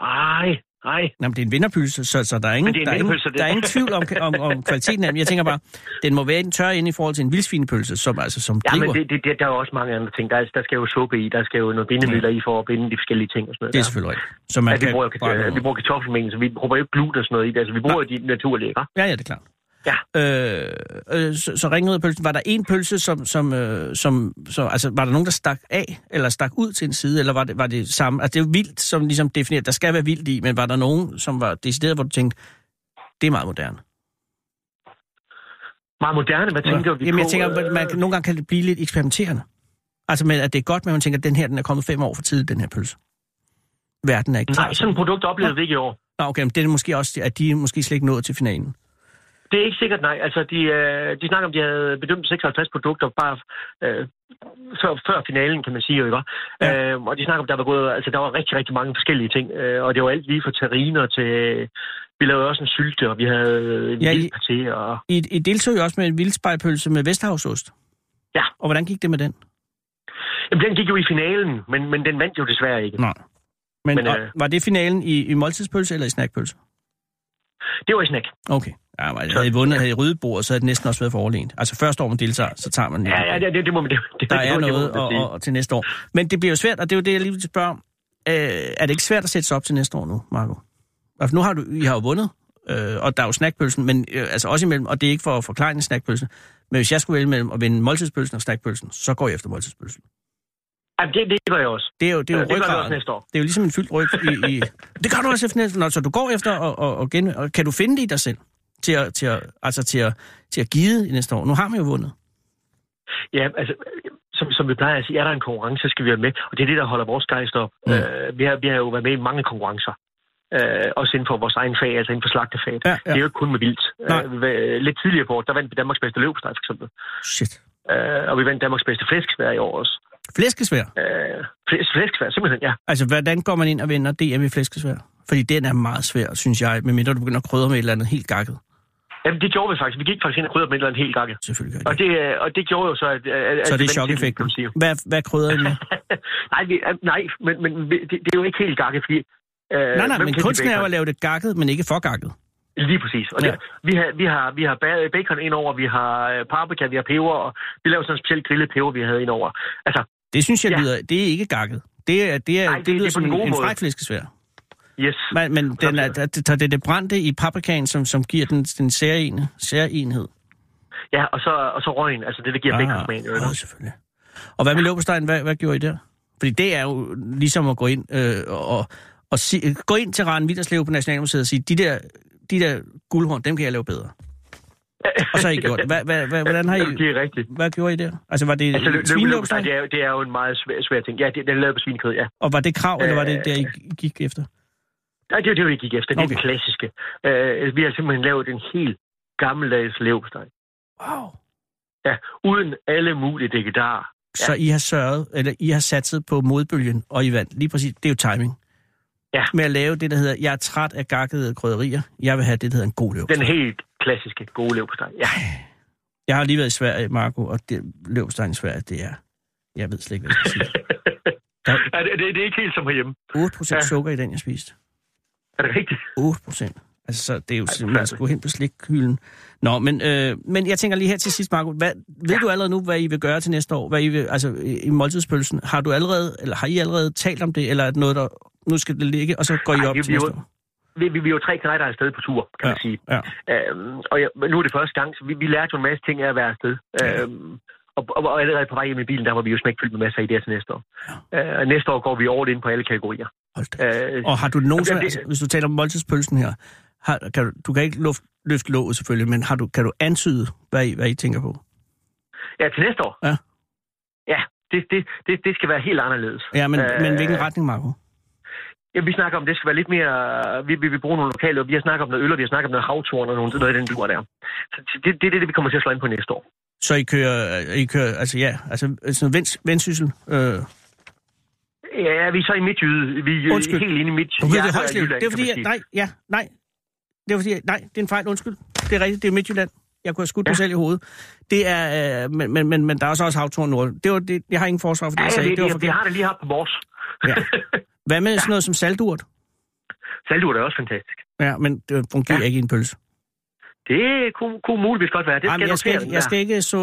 Ej, ej.
Nå, men det er en vinderpølse, så, så der, er ingen,
Men det er en
der, er ingen,
vinderpølse, det-
der er ingen tvivl om, om, om kvaliteten af den. Jeg tænker bare, den må være en tør inde i forhold til en vildsvinepølse, som, altså, som
Ja,
driver.
men det, det, det, der er jo også mange andre ting. Der, er, der skal jo suppe i, der skal jo noget bindemidler i for at binde de forskellige ting og sådan noget.
det er
der.
selvfølgelig rigtigt. Så man
Altså, vi,
kan
bruger,
brænde
øh, vi
noget.
bruger kartoffelmængden, så vi bruger jo ikke gluten og sådan noget i det. Altså, vi bruger jo de naturlige, ikke?
Ja, ja, det er klart.
Ja.
Øh, øh, så, så ringrødpølsen, var der en pølse, som, som, øh, som, som, altså var der nogen, der stak af, eller stak ud til en side, eller var det, var det samme? Altså det er jo vildt, som ligesom defineret, der skal være vildt i, men var der nogen, som var decideret, hvor du tænkte, det er meget moderne?
Meget moderne, hvad tænker vi
Jamen
på?
jeg tænker,
øh,
at man, nogle gange kan det blive lidt eksperimenterende. Altså men, at det er godt, men man tænker, at den her, den er kommet fem år for tidligt, den her pølse. Verden er ikke klar.
Nej, sådan et produkt oplevede vi ikke i år.
Nå, okay, men det er måske også, at de er måske slet ikke nået til finalen.
Det er ikke sikkert, nej. Altså, de, øh, de snakker om, de havde bedømt 56 produkter bare øh, før, før finalen, kan man sige, jo, ikke?
Ja.
Ja. Øh, og de snakker om, der var gået, altså, der var rigtig, rigtig mange forskellige ting. Øh, og det var alt lige fra terriner til... Vi lavede også en sylte, og vi havde en
Ja,
ja,
I-
vildparti, og...
I, I deltog jo også med en vildspejpølse med Vesthavsost.
Ja.
Og hvordan gik det med den?
Jamen, den gik jo i finalen, men, men den vandt jo desværre ikke.
Nej. Men, Men
Men,
og,
øh,
var det finalen i, i måltidspølse eller i snackpølse?
Det var i snack.
Okay. Ja, men havde I vundet, havde I ryddet bordet, så havde det næsten også været for overlegent. Altså første år, man deltager, så tager man...
Ja, ja, det, det, det må man... Det, det,
der
det,
er
må- det, må
noget
man
og,
sige.
og, og, til næste år. Men det bliver jo svært, og det er jo det, jeg lige vil spørge om. Øh, er det ikke svært at sætte sig op til næste år nu, Marco? Altså, nu har du, I har jo vundet, øh, og der er jo snackpølsen, men øh, altså også imellem, og det er ikke for at forklare en snackpølse, men hvis jeg skulle vælge mellem at vinde måltidspølsen og snackpølsen, så går jeg efter måltidspølsen.
Jamen, det, det gør jeg også.
Det er jo, det er jo
Øh, det gør det også
ryggraden.
næste år.
Det er jo ligesom en fyldt ryg. I, i... Det gør du også efter næste Nå, så du går efter og, og, og, gen... og kan du finde det i dig selv? Til at, til at, altså til at, til at give i næste år. Nu har man jo vundet.
Ja, altså, øh, som, som vi plejer at sige, er der en konkurrence, så skal vi være med. Og det er det, der holder vores gejst op.
Mm.
Mm. Øh, vi, har, vi har jo været med i mange konkurrencer. Øh, også inden for vores egen fag, altså inden for slagtefaget.
Ja,
Ja,
ja.
ja. Det er jo ikke kun med vildt.
Nej.
Øh, vi var- øh, lidt tidligere på året, der vandt vi Danmarks bedste løbsteg, for eksempel.
Shit.
Øh, og vi vandt Danmarks bedste flæskesvær i år også.
Flæskesvær.
Øh, flæs, flæskesvær, simpelthen, ja.
Altså, hvordan går man ind og vinder DM i flæskesvær? Fordi den er meget svær, synes jeg, medmindre du begynder at krydre med et eller andet helt gakket.
Jamen, det gjorde vi faktisk. Vi gik faktisk ind og krydrede med et eller andet helt gakke.
Selvfølgelig gør
Og
det.
det, altså øh, og det gjorde jo så, at... øh, at
Så
at-
det er
at- kan
chok-effekten.
man sige.
Hvad, hvad krydrer I med?
nej, vi, øh, nej, men, men vi- det, det, er jo ikke helt gakke, fordi... Øh,
Nej, nej,
hvem
men
kan de
kunsten er jo
bacon?
at lave det gakket, men ikke for gakket.
Lige præcis. Og
Ja.
ja. det, vi, har, vi, har, vi har ba- bacon indover, vi har øh, paprika, vi har peber, og vi laver sådan en speciel grillet peber, vi havde indover. Altså,
Det synes jeg
Ja.
lyder, det er ikke gakket. Det, er, det, er,
Nej,
det,
det-
lyder
det er på
som
den
en,
gode
en
måde.
fræk flæskesvær.
yes.
Men, men den er, der, der, det er det brændte i paprikaen, som, som giver den, den særene, særenhed.
Ja, og så, og så røgen, altså det, der giver bacon smagen.
ah, ah, selvfølgelig. Og hvad med løbestein? Hvad, hvad gjorde I der? Fordi det er jo ligesom at gå ind øh, og, og si, gå ind til Rand Villerslev på Nationalmuseet og sige, de der, de der guldhorn, dem kan jeg lave bedre. Og så har I gjort det. Hvad, hvad, hvad, hvordan har I,
Det er rigtigt.
hvad gjorde I der? Altså var det
Altså, løb, løb, løb,
svinløbestein?
det, er, jo- det er jo en meget svær, svær ting. Ja, det, den er lavet på svinekød, ja.
Og var det krav, eller var det
Øh,
der, I gik efter?
Nej, det er jo det, vi gik efter. Det er
Okay.
den klassiske. Øh, vi har simpelthen lavet en helt gammeldags leverpostej.
Wow.
Ja, uden alle mulige dekarer.
Så I har sørget, eller I har satset på modbølgen, og I vandt. Lige præcis, det er jo timing.
Ja.
Med at lave det, der hedder, jeg er træt af gakkede krydderier, jeg vil have det, der hedder en god løb.
Den helt klassiske gode leverpostej. Ja.
Jeg har lige været i Sverige, Marco, og det, løbstein i Sverige, det er, jeg ved slet ikke, hvad jeg skal sige.
ja det, det, det, er ikke helt som herhjemme.
8 procent
Ja.
sukker i den, jeg spiste.
Er det rigtigt?
8 procent. Altså, så det er jo simpelthen, man
forfærdeligt.
skulle hen på slikhylden. Nå, men, øh, men jeg tænker lige her til sidst, Marco, hvad, ved ja. du allerede nu, hvad I vil gøre til næste år? Hvad I vil, altså, i i måltidspølsen, har du allerede, eller har I allerede talt om det, eller er det noget, der, nu skal det ligge, og så går I
Ej,
op
vi-
til
vi-
næste år?
Vi, vi, vi er jo tre knejder afsted på tur, kan man sige.
Ja.
Øhm, og jeg, men nu er det første gang, så vi, vi lærte jo en masse ting af at være afsted. Øhm, og, og, og allerede på vej hjem i bilen, der var vi jo smækfyldt med masser af idéer til næste år. Øh, og næste år går vi over ind på alle kategorier.
Hold da.
Øh,
Og har du nogensinde,
Jamen, det-
altså, hvis du taler om måltidspølsen her, har, kan du, du kan ikke luft, løfte låget selvfølgelig, men har du, kan du antyde, hvad I, hvad I tænker på?
ja, til næste år?
Ja.
Ja, det, det, det, det skal være helt anderledes.
Ja, men, øh,
Øh,
men hvilken retning, Marco?
Ja, vi snakker om, det skal være lidt mere... Vi, vi, vi bruger nogle lokale, og vi har snakket om noget øl, og vi har snakket om noget havtorn og nogle, noget af den dur der. Så det, det er det, vi kommer til at slå ind på næste år.
Så I kører, I kører altså ja, altså sådan noget vends, vendsyssel. Øh, du
Ja, vi er så i midtjyde. Vi er
Undskyld.
Undskyld. helt inde i midtjyde.
ved, det
Hjertet
er Højslev.
Jylland,
Det er
kan
fordi,
man
at,
sige.
nej, ja, nej. Det er fordi, at, nej, det er en fejl, undskyld. Det er rigtigt, det er Midtjylland. Jeg kunne have skudt ja. mig selv i hovedet. Det er, øh, men, men, men, men der er også, også havtorn nord. Det var det, jeg har ingen forsvar for det,
Ja,
jeg
ja,
sagde.
det,
Det var
det, det,
forkert.
har det lige haft på vores.
Ja. Hvad med sådan noget som saldurt?
Saldur er også fantastisk.
Ja, men det fungerer ja. ikke i en pølse.
Det kunne, kunne muligvis godt være. Det
Jamen,
skal
jeg, skal
notere
ikke,
den
jeg
der.
skal ikke så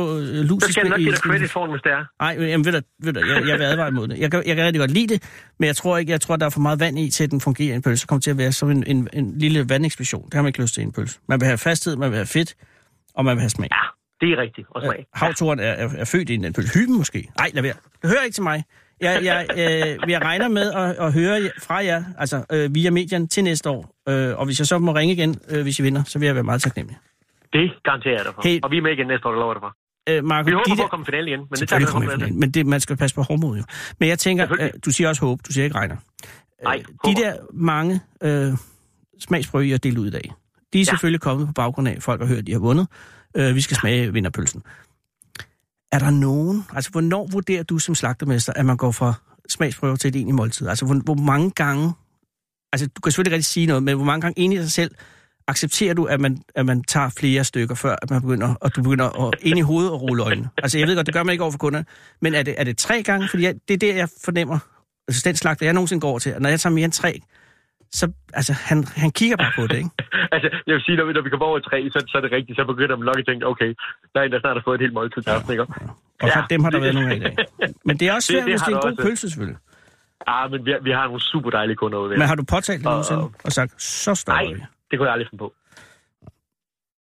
øh, lus
Så skal jeg nok
i-
give dig credit for den, hvis det er.
Nej, men, jamen, ved du, ved du jeg, jeg vil advare imod det. Jeg kan, jeg kan rigtig godt lide det, men jeg tror ikke, jeg tror, der er for meget vand i, til at den fungerer i en pølse. Så kommer det til at være som en, en, en lille vandeksplosion. Det har man ikke lyst til i en pølse. Man vil have fasthed, man vil have fedt, og man vil have smag.
Ja, det er rigtigt. Og smag.
Havtoren er, er, er født i en pølse. Hyben måske. Nej, lad være. Det hører ikke til mig. Jeg, jeg, øh, jeg regner med at, at høre jer- fra jer, altså øh, via medierne, til næste år. Øh, og hvis jeg så må ringe igen, øh, hvis I vinder, så vil jeg være meget taknemmelig.
Det garanterer jeg dig for.
Helt-
Og vi er med igen næste år, der lover jeg dig for.
Øh, Marco,
Vi håber
de
på
der-
at komme i finalen igen, men det tager vi
Selvfølgelig kommer
nok
jeg
med.
finalen, men det, man skal passe på hårdmod jo. Men jeg tænker, øh,
Selvfølgelig.
du siger også håb, du siger ikke regner.
Nej,
Øh, de
håber.
der mange øh, smagsprøver, jeg har delt ud i dag, de er selvfølgelig kommet på baggrund af, at folk har hørt, at de har vundet. Øh, vi skal smage vinderpølsen. Er der nogen, altså hvornår vurderer du som slagtermester, at man går fra smagsprøver til et egentligt måltid? Altså hvor, hvor mange gange, altså du kan selvfølgelig ikke rigtig sige noget, men hvor mange gange enig i dig selv, accepterer du, at man, at man tager flere stykker, før at man begynder, og du begynder at, ind i hovedet og rulle øjnene? Altså, jeg ved godt, det gør man ikke over for kunderne, men er det, er det tre gange? Fordi jeg, det er det, jeg fornemmer, altså den slagter, jeg nogensinde går over til, at når jeg tager mere end tre, så, altså, han, han kigger bare på det, ikke?
Altså, jeg vil sige, når vi, når vi kommer over i tre, så, så er det rigtigt. Så begynder man nok at tænke, okay, der er en, der snart har fået et helt måltid til aften, ikke?
Og så
Ja.
dem har der været nogle af i dag. Men det er også
Det-
svært,
det
hvis
har
det er en
der
god
også.
pølse, selvfølgelig.
Ah, men vi, vi har nogle super dejlige kunder ude ved.
Men har du påtalt det
Og-
nogensinde og sagt, så
Nej,
står vi.
det kunne jeg aldrig finde på.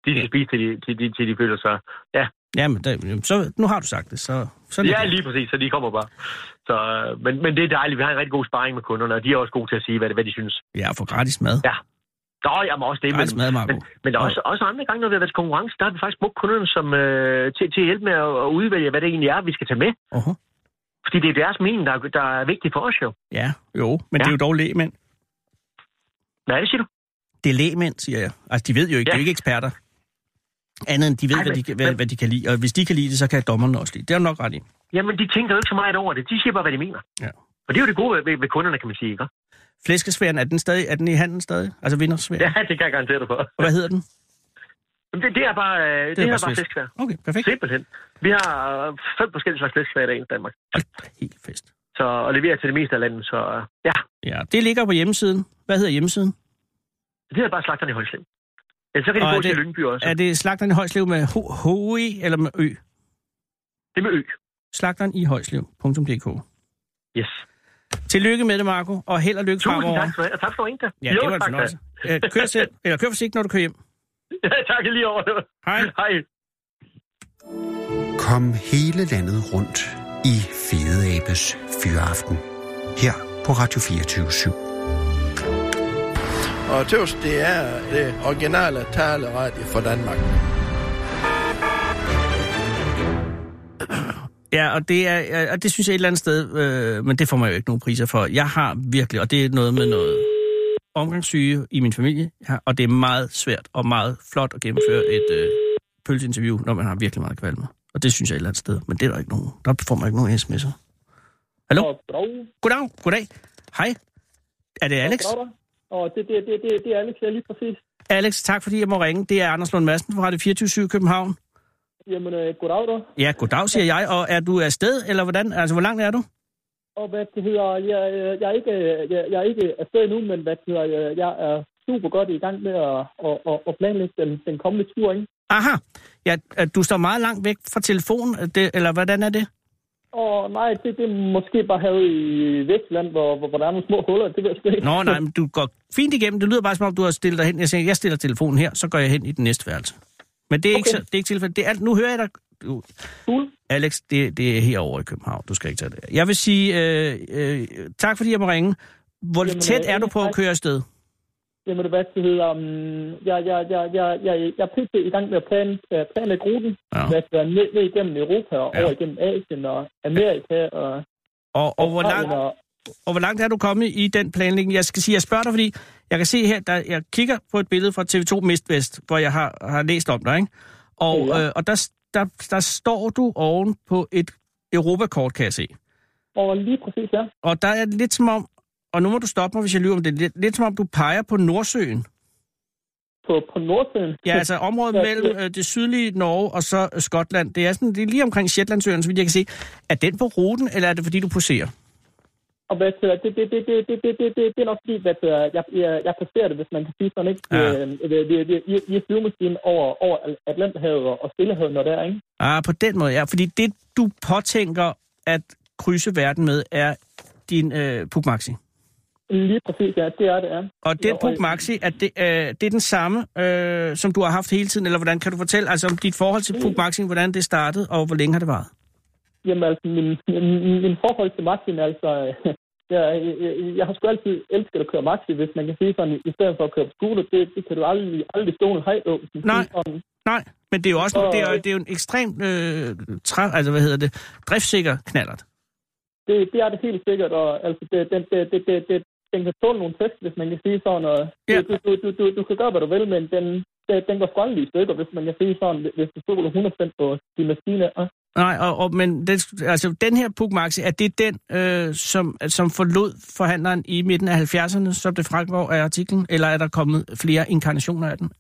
De skal spise til de, til de, til de føler sig. Ja,
Jamen, der, jamen, så, nu har du sagt det, så... så
Ja, lige præcis, så de kommer bare. Så, øh, men, men det er dejligt, vi har en rigtig god sparring med kunderne, og de er også gode til at sige, hvad, hvad de synes.
Ja, for gratis mad.
Ja. Nå, jamen også det,
Gratis mad, Marco.
men, men der er også, også andre gange, når vi har været til konkurrence, der har vi faktisk brugt kunderne som, øh, til, til at hjælpe med at, at udvælge, hvad det egentlig er, vi skal tage med.
Oho.
Fordi det er deres mening, der, er- der er vigtig for os jo.
Ja, jo, men ja.
Ja.
det er jo dog lægmænd.
Hvad er det, siger du?
Det er lægmænd, siger jeg. Altså, de ved jo ikke, ja. de er
Ja.
jo ikke eksperter. Andet end de ved,
Ej,
hvad,
men-
de, hvad,
men-
hvad de kan lide. Og hvis de kan lide det, så kan dommerne også lide det. Det er du nok ret i.
Jamen, de tænker jo ikke så meget over det. De siger bare, hvad de mener.
Ja.
Og det er jo det gode ved, ved kunderne, kan man sige, ikke?
Flæskesfæren, er den, stadig, er den i handen stadig? Altså vindersfæren?
Ja, det kan jeg garantere dig for.
Og hvad hedder den?
Jamen, Det, det er bare, øh, det, det er bare
svensk.
fiskvær.
Okay, perfekt.
Simpelthen. Vi har øh, fem forskellige slags fiskvær i dag i Danmark.
Hold da helt fest.
Så, og leverer til det meste af landet, så øh, ja.
Ja, det ligger på hjemmesiden. Hvad hedder hjemmesiden?
Det er bare slagterne i Holslev. Ja, så kan de
Og er
gå til
det-
Lyngby også.
Er det slagteren i Højslev med H- HE eller med Ø?
Det er med ø.
Slagteren i højslev.dk.
Yes.
Tillykke med det, Marco, og held og lykke
Tusind
fremover.
tak for det, og tak for ringen.
Ja, det var en fornøjelse. Øh, Kør, selv, eller kør forsigtigt, når du kører hjem.
tak i lige over.
Hej.
Hej.
Kom hele landet rundt i Fede Abes Fyraften. Her på Radio 24 7.
Og tøvs, det er det originale taleradio for Danmark.
Ja, og det, er, ja, og det synes jeg et eller andet sted, øh, men det får man jo ikke nogen priser for. Jeg har virkelig, og det er noget med noget omgangssyge i min familie, ja, og det er meget svært og meget flot at gennemføre et øh, pølseinterview, når man har virkelig meget kvalme. Og det synes jeg et eller andet sted, men det er der ikke nogen. Der får man ikke nogen sms'er. Hallo? Goddag, goddag. Hej. Er det Alex?
Og det, det, det, det, det er Alex, ja, lige præcis.
Alex, tak fordi jeg må ringe. Det er Anders Lund Madsen fra Radio 24 København.
Jamen, øh, goddag da.
Ja, goddag, siger jeg. Og er du afsted, eller hvordan? Altså, hvor langt er du?
Og hvad det hedder, jeg, øh, jeg, er ikke, øh, jeg, jeg er ikke afsted endnu, men hvad det hedder, jeg, jeg er super godt i gang med at, at, at, at planlægge den, den kommende tur, ikke?
Aha. Ja, at du står meget langt væk fra telefonen, er det, eller hvordan er det?
Og nej, det, det er måske bare her i Vestland, hvor, hvor, hvor der er nogle små huller, det ved jeg sgu ikke.
Nå, nej, men du går fint igennem. Det lyder bare, som om du har stillet dig hen. Jeg siger, jeg stiller telefonen her, så går jeg hen i den næste værelse. Men det er, okay. ikke,
Okay. Uh.
så- det er ikke tilfældet. Det er alt. Nu hører jeg dig. Du,
Cool.
Alex, det, det er herovre i København. Du skal ikke tage det. Jeg vil sige, øh, øh, tak fordi jeg må ringe. Hvor
Jamen,
Jamen, tæt
øh,
er du på at
tak.
køre afsted?
Jamen, hvad det hedder, um, jeg, jeg, jeg, jeg, jeg, jeg er pt. i gang med at plan, øh, planlægge ruten,
Ja.
hvad det hedder, ned, ned igennem Europa og
Ja.
ja. over igennem Asien og Amerika og...
Og, og, hvor langt,
og,
og hvor langt er du kommet i den planlægning? Jeg skal sige, jeg spørger dig, fordi jeg kan se her, der, jeg kigger på et billede fra TV2 MidtVest, hvor jeg har, har læst om dig, ikke? Og,
Ja.
øh, og der, der, der står du oven på et Europakort, kan jeg se.
og lige præcis, ja.
Og der er lidt som om, og nu må du stoppe mig, hvis jeg lyver om det, lidt, lidt som om du peger på Nordsøen.
på, på Nordsøen.
Ja, altså området
Ja,
mellem øh, det sydlige Norge og så øh, Skotland. Det er, sådan, det er lige omkring Shetlandsøerne, så vidt jeg kan se. Er den på ruten, eller er det fordi, du poserer?
Og hvad det, hedder, det, det, det, det, det, det, det, det, det er nok fordi, hvad det, hedder, jeg, jeg, jeg placerer det, hvis man kan sige sådan, ikke?
Ja.
Ja. Øh, det, det, det, i, i flyvemaskinen over, over Al- Atlanterhavet og og Stillehavet, når der, ikke?
Ah, på den måde, ja. Fordi det, du påtænker at krydse verden med, er din øh, Pugmaxi.
Lige præcis, ja, det er det, ja.
Og den
og-
Pugmaxi, er det, øh, det er den samme, øh, som du har haft hele tiden, eller hvordan kan du fortælle altså, om dit forhold til
Mm.
Pugmaxi, hvordan det startede, og hvor længe har det varet?
Jamen altså, min, min, min forhold til Martin, altså, jeg, jeg, jeg har sgu altid elsket at køre maxi, hvis man kan sige sådan, i stedet for at køre på scooter, det, det kan du aldrig, aldrig stå en høj på.
Nej.
Om,
Nej, men det er jo også
Og-
det er, jo- det er jo en ekstremt øh, træ, altså, hvad hedder det, driftsikker knallert.
det, det er det helt sikkert, og altså, det, den, det, det, det, det, den kan tåle nogle test, hvis man kan sige sådan, og
Ja.
ja. du, du, du, du, du kan gøre, hvad du vil, men den, den, den går skrøndelig i stykker, hvis man kan sige sådan, hvis- hvis du stoler 100% på de maskiner. Og
Nej, og, og, men den, altså, den her Pugmaxi, er det den, øh, som, som forlod forhandleren i midten af 70'erne, som det fremgår af artiklen, eller er der kommet flere inkarnationer af den?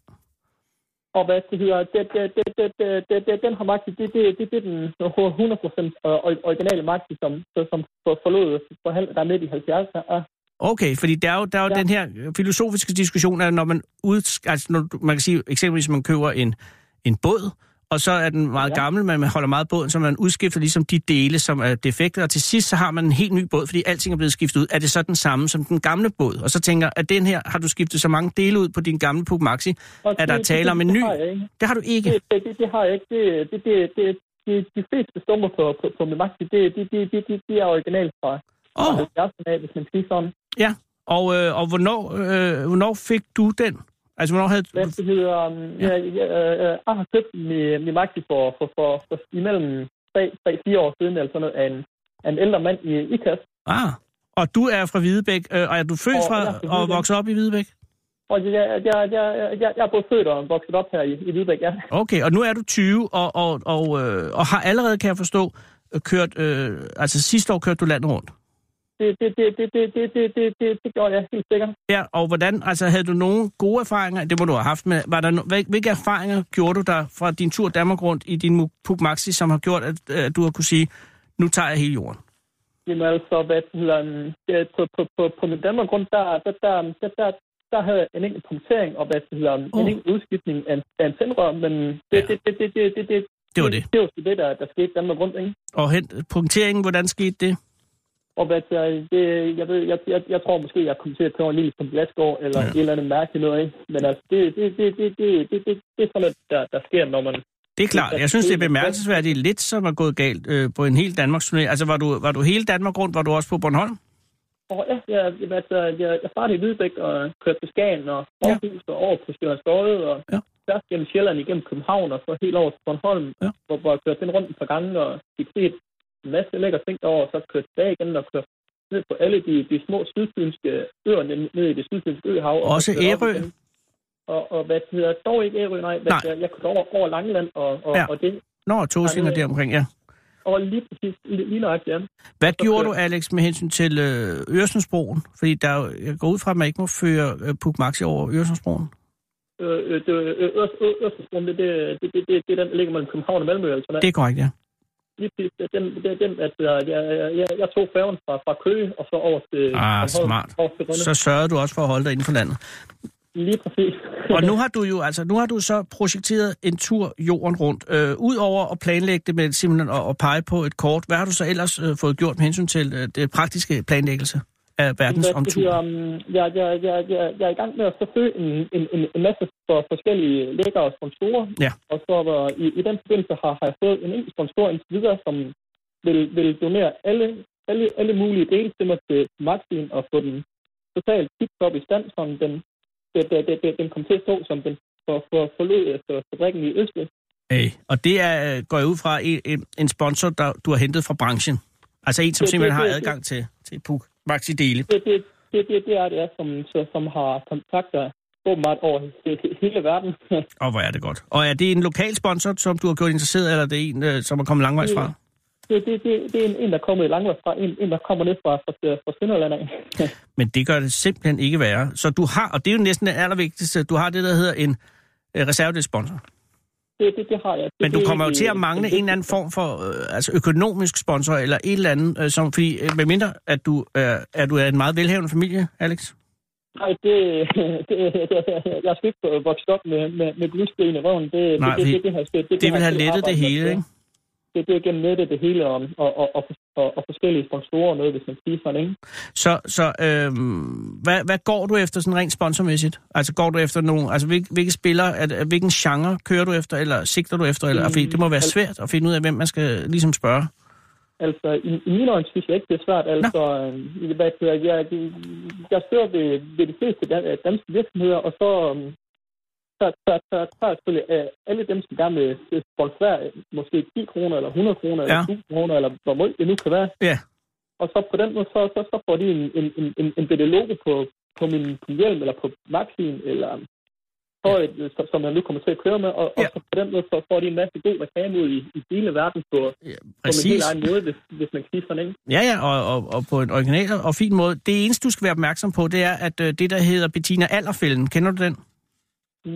og hvad det hedder, det, det, det, det, det, det, det, den har Maxi, det, det, det, det er den 100% ori- originale Maxi, som, som for- forlod forhandler der midt i 70'erne. Og
Okay, fordi der er jo, der er jo ja.
Ja.
den her øh, filosofiske diskussion, at når man ud, altså når du- man kan sige eksempelvis, man køber en, en båd, og så er den meget ja. gammel, men man holder meget båden, så man udskifter ligesom de dele, som er defekte, og til sidst så har man en helt ny båd, fordi alting er blevet skiftet ud. Er det så den samme som den gamle båd? Og så tænker at den her har du skiftet så mange dele ud på din gamle Puk Maxi,
Og
at der
det-
taler
det-
om en
det
ny.
har jeg ikke.
Det har du ikke.
Det, det, det, det har jeg ikke. Det, det, det, det, de, de fleste stumper på, på, på min maxi, det, de, de, de, de, de er originalt fra
Åh, oh,
70'erne af, hvis man siger sådan.
ja. Og, øh, og hvornår, øh, hvornår fik du den? Altså, hvornår havde...
Hvad det hedder, um, ja. jeg, jeg, øh, jeg har købt min, min maxi for, for, for, for imellem 3-4 år siden, eller sådan noget, af en, af en ældre mand i IKAS.
Ah, og du er fra Hvidebæk, øh, og er du
Og
født
jeg er fra
fra og
Hvidebæk.
vokset op i Hvidebæk?
Og jeg, jeg, jeg, jeg, jeg, jeg er både født og vokset op her i, i Hvidbæk, ja.
Okay, og nu er du 20, og, og, og, øh, og har allerede, kan jeg forstå, øh, kørt, øh, altså sidste år kørte du landet rundt.
Det, det, det, det, det, det, det, det, det, det gjorde jeg helt sikkert.
Ja, og hvordan, altså havde du nogle gode erfaringer, det må du have haft med, var der no, hvil- hvilke erfaringer gjorde du der fra din tur Danmark rundt i din Mu- Puk Maxi, som har gjort, at, at du har kunne sige, nu tager jeg hele jorden?
Jamen altså, hvad det hedder, øhm, det- på, på, på, på min Danmark grund, der, der, der, der, der, der havde jeg en enkelt punktering, og hvad det hedder,
Uh.
en enkelt udskiftning af, en- af en tændrør, men det,
Ja.
ja. det, det, det, det, det, det,
Det var det.
Det, det var sgu det, der, der skete i Danmark rundt, ikke?
Og hen, punkteringen, hvordan skete det?
Og hvad det, hedder, det jeg, ved, jeg, jeg, jeg, tror måske, jeg kom til at køre en lille som Glasgow, eller
Ja.
ja. et eller andet mærke noget, ikke? Men altså, det, det, det, det, det, det, det, det er sådan noget, der, der sker, når man...
Det er klart. Jeg synes, det er bemærkelsesværdigt lidt, som er gået galt øh, på en hel Danmarks turné. Altså, var du, var du hele Danmark rundt? Var du også på Bornholm?
Og ja, jeg, jeg, altså, jeg, jeg startede i Hvidbæk og kørte til Skagen og
Ja.
Aarhus og over på Sjællandsgårde og
Ja.
ja. først gennem Sjælland, igennem København og så helt over til Bornholm,
Ja.
ja. hvor, hvor jeg kørte den rundt et par gange og fik set en masse lækre ting derovre, og så kørte tilbage igen og kørte ned på alle de, de små sydfynske øer ned- ned i det sydfynske øhav. og
Også
kørte op
Ærø?
igen. Og, og hvad det hedder, dog ikke Ærø, nej. Hvad
Nej.
nej. Jeg, jeg kørte over, over Langeland og, og,
Ja.
ja. og det,
Nå, Tosinger
Nej, det-
deromkring, ja.
og lige præcis lige, lige nøjagtigt, ja.
Hvad
Så
gjorde
kører-
du, Alex, med hensyn til øh, Øresundsbroen? Fordi der, er jo- jeg går ud fra, at man ikke må føre øh, Puk Maxi over Øresundsbroen.
Øh, øh, det, øh, øh, Øst- Øst- Østersbroen, det, det, det, det, det, det er den, der ligger mellem København og Malmø. Altså,
Det er korrekt, ja.
lige præcis, det er den, det er den at jeg, jeg, jeg, jeg tog færgen fra, fra Køge og så over til... Bornholm,
Ah, smart.
Over til Rønne.
Så sørgede du også for at holde dig inden for landet.
Lige præcis.
Og nu har du jo altså, nu har du så projekteret en tur jorden rundt. Øh, Udover at planlægge det med simpelthen at, at pege på et kort, hvad har du så ellers øh, fået gjort med hensyn til øh, det praktiske planlæggelse af verdens
Hvad det hedder,
omtur?
um, jeg, jeg, jeg, jeg, jeg er i gang med at så søge en, en, en, en masse for forskellige lækker og sponsorer.
Ja.
Og så var- i, i den forbindelse har, har jeg fået en enkelt sponsor indtil videre, som vil, vil donere alle, alle, alle mulige dele til mig til Maxin og få den totalt tip-top i stand, som den, den, den, den, den kom til at stå, som den for, for, forlod efter fabrikken i Østrig.
Hey. Og det er, øh, går jeg ud fra, en- en, en sponsor, der du har hentet fra branchen. Altså en, som
Det-
simpelthen
det-
har
det-
adgang til, til Puk Maxi Dele.
det, det, det, det, det er det, er, som, så, som har kontakter åbenbart over he- he- hele verden.
Og hvor er det godt. Og er det en lokal sponsor, som du har gjort interesseret, eller er det en, øh, som er kommet langvejs fra?
det, det, det, det er en, en der kommer i langvejs fra, en, en, der kommer ned fra, fra, fra Sønderland af.
Men det gør det simpelthen ikke værre. Så du har, og det er jo næsten det allervigtigste, du har det, der hedder en øh, reservedelssponsor.
Det, det, det har jeg. Det,
Men du
det-
kommer jo
det-
til at mangle
det-
en eller anden form for øh, altså økonomisk sponsor, eller et eller andet, øh, som, fordi øh, medmindre, at du, øh, at du er en meget velhavende familie, Alex.
Nej, det, det, det, jeg er sgu ikke vokset op med, med, med guldsten i røven. Det,
Nej,
det,
fordi
det, det, det, har jeg sgu- det,
Det
har
vil
jeg
have
sgu
lettet det
arbejdet med.
hele, ikke?
Det, det er gennem nettet det hele, og, og, og, og, og, og forskellige sponsorer og noget, hvis man siger sådan, ikke?
Så, så øh, hvad, hvad går du efter sådan rent sponsormæssigt? Altså går du efter nogen, altså hvilke, hvilke spillere, at, at, hvilken genre kører du efter, eller sigter du efter? Eller, fordi det må
Mm.
være svært at finde ud af, hvem man skal ligesom spørge.
Altså, i, i mine øjne synes jeg ikke, det er svært. Altså, øh, hvad, hedder jeg, jeg, jeg søger ved, ved de fleste dan- danske virksomheder, og så øhm, tager tager- tager- tager jeg selvfølgelig øh, alle dem, som gerne vil vil sponsorere måske 10 kroner, eller 100 kroner, eller
Ja.
1000 kroner, eller hvor meget det nu kan være.
Ja.
Og så på den måde, så, så, så får de en, en, en, en, en bitte logo på, på min på min hjelm, eller på maxien, eller øhm, tøjet, ja. som, som jeg nu kommer til at køre med. Og, og
Ja.
så på den måde, så får de en masse god reklame ud i, i hele verden på, på min
Præcis.
helt egen måde, hvis, hvis man kan sige sådan, ikke?
Ja, ja, og, og, og på en original og fin måde. Det eneste, du skal være opmærksom på, det er, at øh, det, der hedder Bettina Allerfælden, kender du den?
Mm,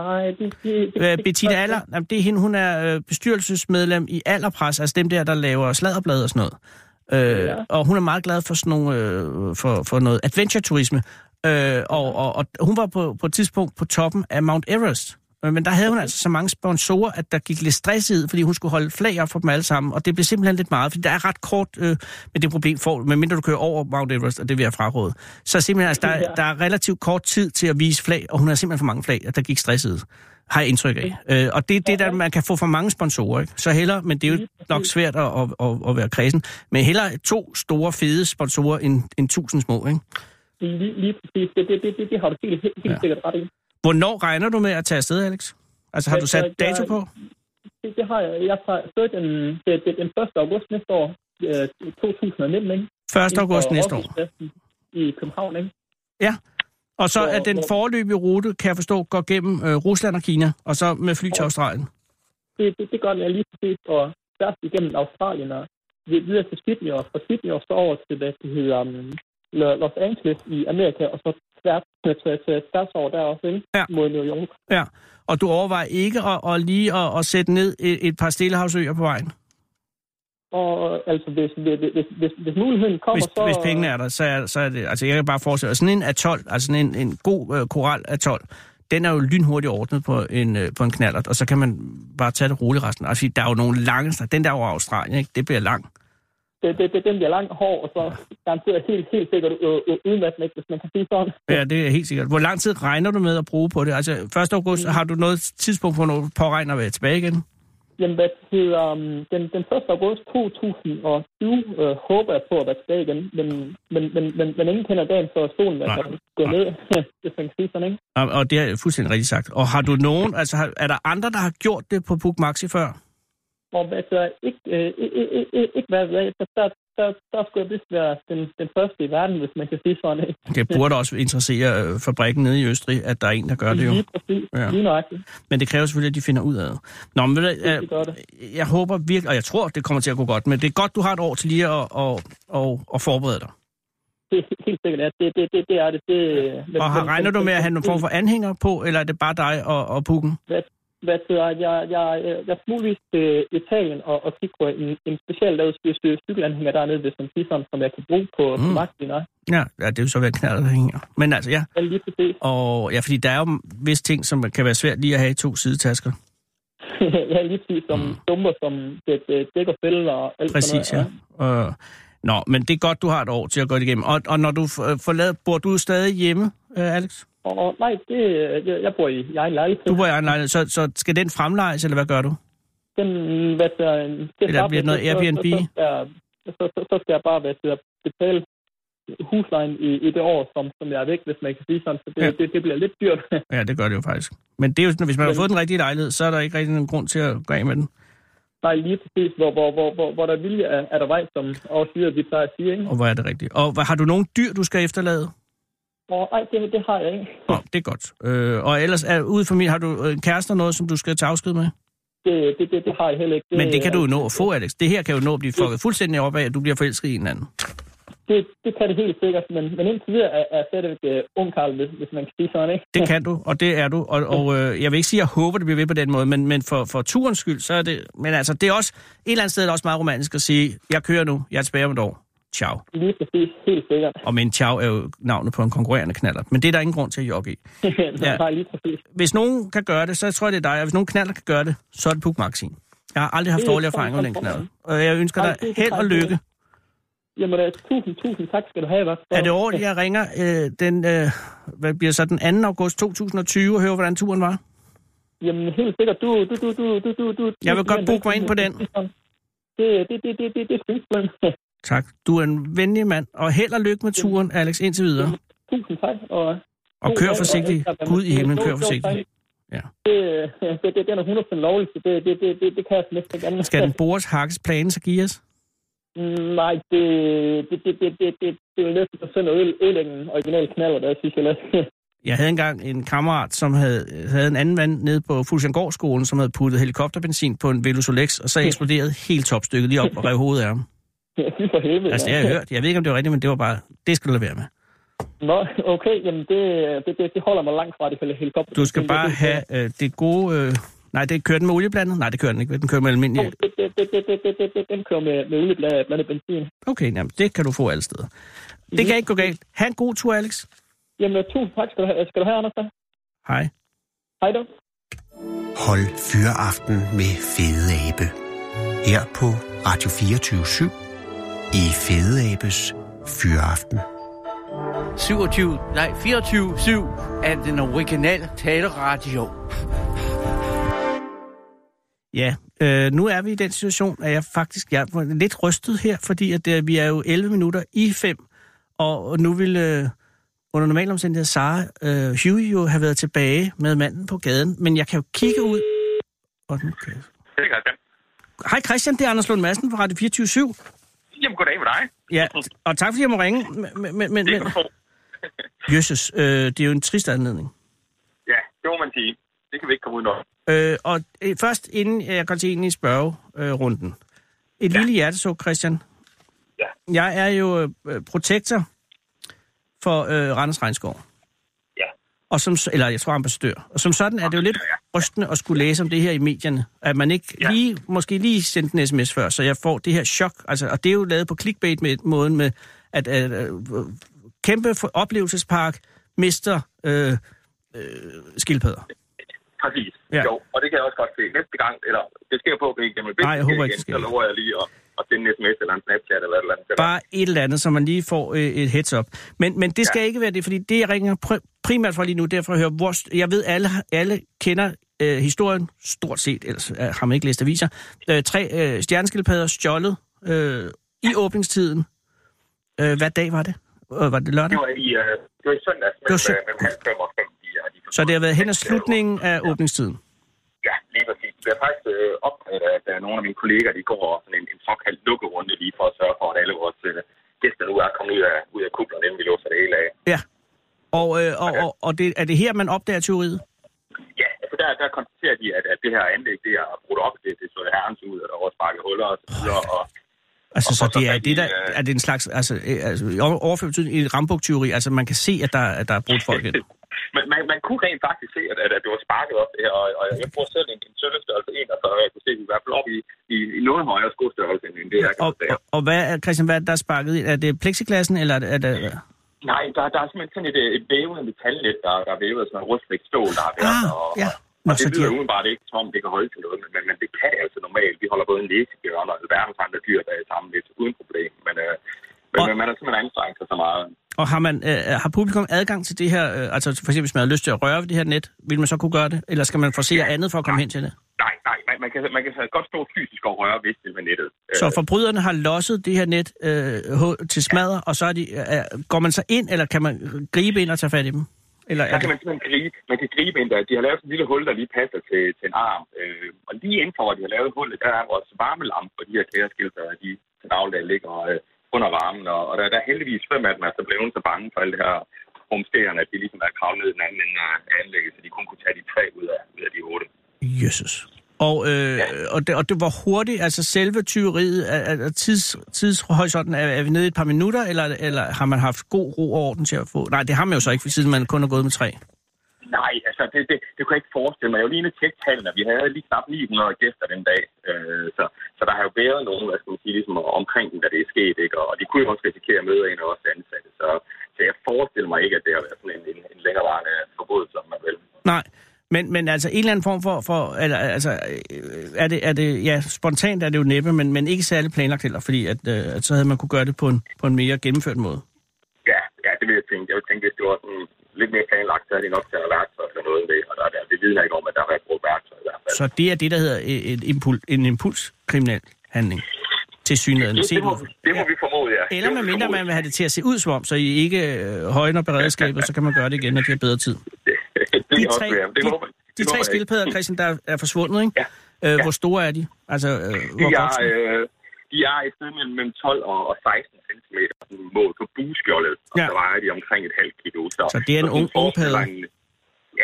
Nej, det... det, det
Øh, Bettina Aller, jamen, det er hende, hun er øh, bestyrelsesmedlem i Allerpres, altså dem der, der laver sladderblad og sådan noget. Øh, ja.
Ja.
Og hun er meget glad for sådan nogle, øh, for, for noget adventure-turisme. Øh, og, og, og hun var på, på et tidspunkt på toppen af Mount Everest. Men men der havde hun altså så mange sponsorer, at der gik lidt stress i, det, fordi hun skulle holde flag op for dem alle sammen. Og det blev simpelthen lidt meget, fordi der er ret kort øh, med det problem, får, du, medmindre du kører over Mount Everest, og det vil jeg fraråde. Så simpelthen, altså, der, der er relativt kort tid til at vise flag, og hun har simpelthen for mange flag, og der gik stress i, det, har jeg indtryk af. Øh, og det er det, der man kan få for mange sponsorer. Ikke? Så heller, men det er jo nok svært at, at, at, at være kredsen, men heller to store fede sponsorer end, end tusind små. Ikke?
Lige, lige præcis. Det, det, det, det, det har du helt, helt, helt
Ja.
ja. sikkert ret i.
Hvornår regner du med at tage afsted, Alex? Altså har du sat
Altså, jeg-
dato på?
Det, det har jeg. Jeg tager afsted den, den, den- den 1. august næste år, øh, 2019, ikke?
1. august
Inden
næste
for
år.
Rådhuspladsen I København, ikke?
Ja. Og så
Hvor-
er den
hvor-
forløbige rute, kan jeg forstå, går gennem øh, Rusland og Kina, og så med fly til Australien.
Det, det, det gør den jeg lige præcis, og først igennem Australien og vid- videre til Sydney, og fra Sydney og så over til, hvad det hedder, um, Los Angeles i Amerika, og så tværs, tværs, tværs, tværs over der også, ikke?
Ja.
Mod New York.
Ja. Og du overvejer ikke at, at lige at, at sætte ned et, et par stillehavsøer på vejen,
Og altså, hvis, hvis, hvis, hvis, hvis muligheden kommer,
hvis,
så...
hvis pengene er der. Så er, så er det, altså jeg kan bare forestille mig, sådan en atol, altså sådan en, en god øh, koral atol, den er jo lynhurtigt ordnet på en, øh, på en knallert, og så kan man bare tage det roligt resten. Altså, der er jo nogle lange, stræk- den der over Australien, ikke? det bliver lang.
det, det, det, den bliver lang og hård, og så garanteret helt, helt sikkert øh, øh, udmattende, ikke, hvis man kan sige sådan.
Ja, det er helt sikkert. Hvor lang tid regner du med at bruge på det? Altså, 1. august, har du noget tidspunkt, hvornår du påregner at være tilbage igen?
Jamen, hvad det hedder, um, den, den 1. august 2020 øh, håber jeg på at være tilbage igen, men, men, men, men, men ingen kender dagen, så solen er
Nej.
altså gået ned, hvis man kan sige sådan, ikke?
Og, og det er fuldstændig rigtigt sagt. Og har du nogen, altså har, er der andre, der har gjort det på Puk Maxi før?
Og hvad så ikke, øh, ikke, ikke, ikke hvad ved jeg, så der, der, der skulle jeg vist være den, den første i verden, hvis man kan sige sådan, ikke?
Det burde også interessere øh, fabrikken nede i Østrig, at der er en, der gør det jo.
Lige præcis,
Ja.
ja. lige nøjagtigt.
Men det kræver selvfølgelig, at de finder ud af det. Nå, men ved du,
Det gør det.
øh, jeg håber virkelig, og jeg tror, det kommer til at gå godt, men det er godt, du har et år til lige at, at, at, at forberede dig.
Det er helt sikkert, at det, det, det, det er det. det men-
Og har,
men-
regner du
men-
med at have nogle
men-
form for anhænger på, eller er det bare dig og, og Pukken?
hvad, hvad hedder, jeg, jeg, jeg, jeg skulle muligvis til Italien og, og kigge på en, en specielt lavet cy- cy- cykelanhænger dernede, hvis man siger sådan, som jeg kan bruge på, mm. på magten.
Ja, ja, det er jo så være knalderhænger. Men altså, ja.
Jeg lige præcis.
Og ja, fordi der er jo visse ting, som kan være svært lige at have i to sidetasker.
jeg er lige præcis som mm. dumper, som det, det, dækker fælder og alt
Præcis, ja.
sådan
Øh, nå, men det er godt, du har et år til at gå det igennem. Og, og når du f- øh, forlader, bor du stadig hjemme, øh, Alex?
Og, og nej, det, øh, jeg, jeg bor i jeg egen lejlighed.
Du bor i egen lejlighed, så, så skal den fremlejes, eller hvad gør du?
Den, hvad der, det
Eller bliver det noget Airbnb?
Så, så, skal jeg- så, så, så skal jeg bare hvad der, betale huslejen i, i det år, som, som jeg er væk, hvis man kan sige sådan. Så det,
Ja.
ja. det, det bliver lidt dyrt.
Ja, det gør det jo faktisk. Men det er jo, sådan, hvis man har fået den rigtige lejlighed, så er der ikke rigtig nogen grund til at gå af med den.
Nej, lige præcis, hvor, hvor, hvor, hvor, hvor der vilje er, er der vej, som også siger, at vi plejer at sige, ikke?
Og hvor er det rigtigt? Og hvad- har du nogle dyr, du skal efterlade?
Og nej, det, det har jeg ikke.
Nå, det er godt. Øh, og ellers, er, ude for min, har du øh, en kæreste og noget, som du skal tage afsked med?
Det, det, det, det har jeg heller ikke.
Men det kan du jo nå at få, Alex. Det her kan jo nå at blive fucket fuldstændig op af, at du bliver forelsket i en anden.
Det, det kan det helt sikkert, men, men indtil videre er, er jeg stadigvæk uh, ung, Karl, hvis, hvis man kan sige sådan, ikke?
Det kan du, og det er du. Og, og øh, jeg vil ikke sige, at jeg håber, det bliver ved på den måde, men, men for, for turens skyld, så er det... Men altså, det er også... Et eller andet sted er det også meget romantisk at sige, jeg kører nu, jeg er tilbage om et år. Ciao.
Lige præcis, helt sikkert.
Og men ciao er jo navnet på en konkurrerende knaller. Men det er der ingen grund til at jogge i. Ja.
ja. Nej, lige præcis.
Hvis nogen kan gøre det, så tror jeg, det er dig. Og hvis nogen knaller kan gøre det, så er det Puk Maxin. Jeg har aldrig haft
Det er
dårlige
sådan,
erfaringer med den
sådan
knaller.
får
Og jeg ønsker
Nej,
dig
det er
held og
korrekt, det er
lykke.
Jamen, uh, tusind, tusind tak skal du have, Vagt.
Er det ordentligt, jeg ringer øh, den, øh, hvad bliver så den 2. august 2020 og hører, hvordan turen var?
Jamen, helt sikkert, du... du, du, du, du, du, du
Jeg vil
du-
godt
du-
booke mig ind på den.
Det, det, det, det, det, det synes man.
Tak. Du er en venlig mand, og held og lykke med turen, Alex, indtil videre.
Tusind tak, og...
Og kør forsigtigt. Gud i himlen, kør forsigtigt. Ja.
Ja. Det, øh, det, det, den er 100% lovlig, så det, det, det, det, det kan jeg næsten ikke andet.
Skal den bores, hakkes, planes og gears?
Mm, Nej, det, det, det, det, det, det, det er jo næsten for synd at øl- ødelægge en original knaller, der synes jeg lidt.
Jeg havde engang en kammerat, som havde, havde en anden mand nede på Fuglsangårdsskolen, som havde puttet helikopterbenzin på en Velusolex, og så eksploderede hele topstykket lige op og rev hovedet af ham.
Fy for helvede.
Altså, det har jeg hørt. Jeg ved ikke, om det var rigtigt, men det var bare, det skal du lade være med.
Nå, okay, jamen det, det, det, det holder mig langt fra det fælde helikopter.
Du skal
Det-
bare
det-
have øh, det gode... Øh, nej, det kører den med olieblandet? Nej, det kører den ikke. Den kører med almindelig...
Det, det, det, det, det, det, det, det, den kører med, med ude blandt, blandt benzin.
Okay, jamen, det kan du få alle steder. Det kan ikke gå galt. Ha' en god tur, Alex.
Jamen, tusind tak skal du have, skal du have Anders. så.
Hej.
Hej da.
Hold fyreaften med Fede Abe. Her på Radio 24 i Fede Abes Fyreaften.
27, nej 24-7 er den originale taleradio.
Ja, øh, nu er vi i den situation, at jeg faktisk jeg er lidt rystet her, fordi at, øh, vi er jo 11 minutter i 5, og, og nu vil øh, under normale omstændigheder Sara øh, Huey jo have været tilbage med manden på gaden, men jeg kan jo kigge ud... Og den kan...
Det kan jeg.
Hej Christian, det er Anders Lund Madsen fra Radio 24 7
Jamen, goddag med dig.
Ja, og tak fordi jeg må ringe, men... men, men, men... Jesus, øh, det er jo en trist anledning.
Ja, det må man sige. Det kan vi ikke komme udenom.
Øh, og øh, først inden jeg går til ind i spørgerunden. Et ja. lille hjertesuk, Christian.
Ja.
Jeg er jo øh, protektor for øh, Randers Regnskov.
Ja.
Og som, s- eller jeg tror ambassadør. Og som sådan er det jo lidt rystende at skulle læse om det her i medierne. At man ikke ja. lige, måske lige sendte en sms før, så jeg får det her chok. Altså, og det er jo lavet på clickbait-måden med, at, at, at øh, kæmpe for oplevelsespark mister øh, øh, skildpadder.
Præcis.
Ja.
Ja. Jo, og det kan jeg også godt se. Næste gang, eller det sker på, at det ikke jamen, hvis
Nej, jeg
det sker
håber ikke, det
igen, Så
sker.
lover jeg lige at, at sende en sms eller en snapchat eller et eller andet. til dig.
Bare et eller andet, så man lige får øh, et heads up. Men, men det skal ja. ikke være det, fordi det, jeg ringer pr- primært for lige nu, det er for at høre, hvor, st- jeg ved, alle, alle kender øh, historien, stort set, ellers øh, har man ikke læst aviser. Øh, tre øh, stjerneskildpadder stjålet øh, i åbningstiden. Øh, hvad dag var det? Øh, var det lørdag?
Det var i, øh, det var i søndags,
Det var
mellem,
søndag.
øh, mellem halv fem og fem. De, er- de,
Så det har været hen ad slutningen af åbningstiden.
ja, lige præcis. Det er faktisk øh, opdaget, at der er nogle af mine kolleger, de går over sådan en, en såkaldt lukkerunde lige for at sørge for, at alle vores øh, gæster nu er kommet ud af, ud af kublen, inden vi låser det hele af.
Ja. Og, øh, og, og, og det, er det her, man opdager teoriet?
Ja, altså der, der konstaterer de, at, at det her anlæg, det er brudt op, det, det så det herrens ud, og der var sparket huller og så videre, og
Altså, så det er, det der, er det en slags, altså, øh, altså i over- overført betydning, et rambuk altså man kan se, at der, at der er brudt folk ind.
man, man, man kunne rent faktisk se, at, at, at det var sparket op det her, og, og jeg bruger selv en, en sølvstørrelse 41, og jeg kunne se, at vi i hvert fald op i, i, i noget højere skostørrelse, end det altså- her kan
Og, og, og hvad, er, Christian, hvad er det, der er sparket ind? Er det plexiglassen, eller er det... Er det
Nej, der, der er simpelthen sådan et, øh, et vævende metalnet, der, der er vævet af sådan noget rustfrit stål, der er været, og,
ah, ja.
og
Nå,
det
så de
lyder
er,
udenbart ikke, som om det kan holde til noget, men, men, men det kan det altså normalt. Vi holder både en læsebjørn og alverdens andre dyr, der er sammen lidt uden problem, men, øh, men, men man har simpelthen anstrengt sig så meget.
og har, man, øh, har publikum adgang til det her? Øh, altså for eksempel, hvis man har lyst til at røre ved det her net, vil man så kunne gøre det? Eller skal man forsere andet for at komme hen til det?
Nej, nej, man, man, kan, man kan godt stå fysisk og røre ved det med nettet.
Så forbryderne har losset det her net øh, hu- til smadre, og så er de, øh, går man så ind, eller kan man gribe ind og tage fat i dem? Eller
Der
er
kan
det,
man simpelthen gribe, man kan gribe ind der. De har lavet sådan en lille hul, der lige passer til, til en arm. Øh, og lige indenfor, hvor de har lavet hullet, der er vores varmelampe, og de her kæreskilter, de til daglig ligger øh, under varmen. Og, og der, der er heldigvis fem af dem, altså blevet så bange for alt det her rumsteren, at de ligesom er kravlet ned i den anden ende af anlægget, så de kun kunne tage de tre ud af, ud af de otte.
Jesus. Og, øh, og, det, og det, hvor hurtigt, altså selve tyveriet, er, er, er tids, tidshorisonten, er, er vi nede i et par minutter, eller, eller har man haft god ro og orden til at få? Nej, det har man jo så ikke, siden man kun har gået med tre.
Nej, altså det, det, det kunne jeg ikke forestille mig. Jeg var lige inde og tjekke tallene. Vi havde lige knap 900 gæster den dag. Øh, så, så der har jo været nogen, hvad skal man sige, ligesom omkring den, da det er sket. Ikke? Og, og de kunne jo også risikere at møde en af os ansatte. Så, så jeg forestiller mig ikke, at det har været sådan en, en, en længerevarende forbrydelse, om man vil.
Nej, men, men altså en eller anden form for, for eller, altså, øh, er det, er det, ja, spontant er det jo næppe, men, men ikke særlig planlagt heller, fordi at, øh, at så havde man kunne gøre det på en, på en mere gennemført måde.
Ja, ja, det vil jeg tænke. Jeg vil tænke, hvis det var sådan lidt mere planlagt, så havde de nok taget værktøj eller noget af det. Og der, der, det vidner ikke om, at der har været brugt værktøj i hvert fald.
Så det er det, der hedder et, et impul, en impulskriminel handling til synligheden.
det,
set
det, må,
ud fra-
det må vi formode, ja.
Eller
Det må vi
medmindre
formode.
man vil have det til at se ud som om, så I ikke øh, højner beredskabet, så kan man gøre det igen, når de har bedre tid.
Det
De
kan
tre,
også være. Det
de,
håber- det
de
håber
tre
jeg ikke.
skildpadder, Christian, der er forsvundet, ikke? Ja. Øh, hvor store er de? Altså, øh,
De
hvor
er,
voksne?
øh, de er et sted mellem, mellem 12 og, og 16 cm målt på buskjoldet, og
Ja.
så vejer de omkring et halvt kilo. Så,
Så det er en
sådan
ung- ung
forestiller
padde.
en-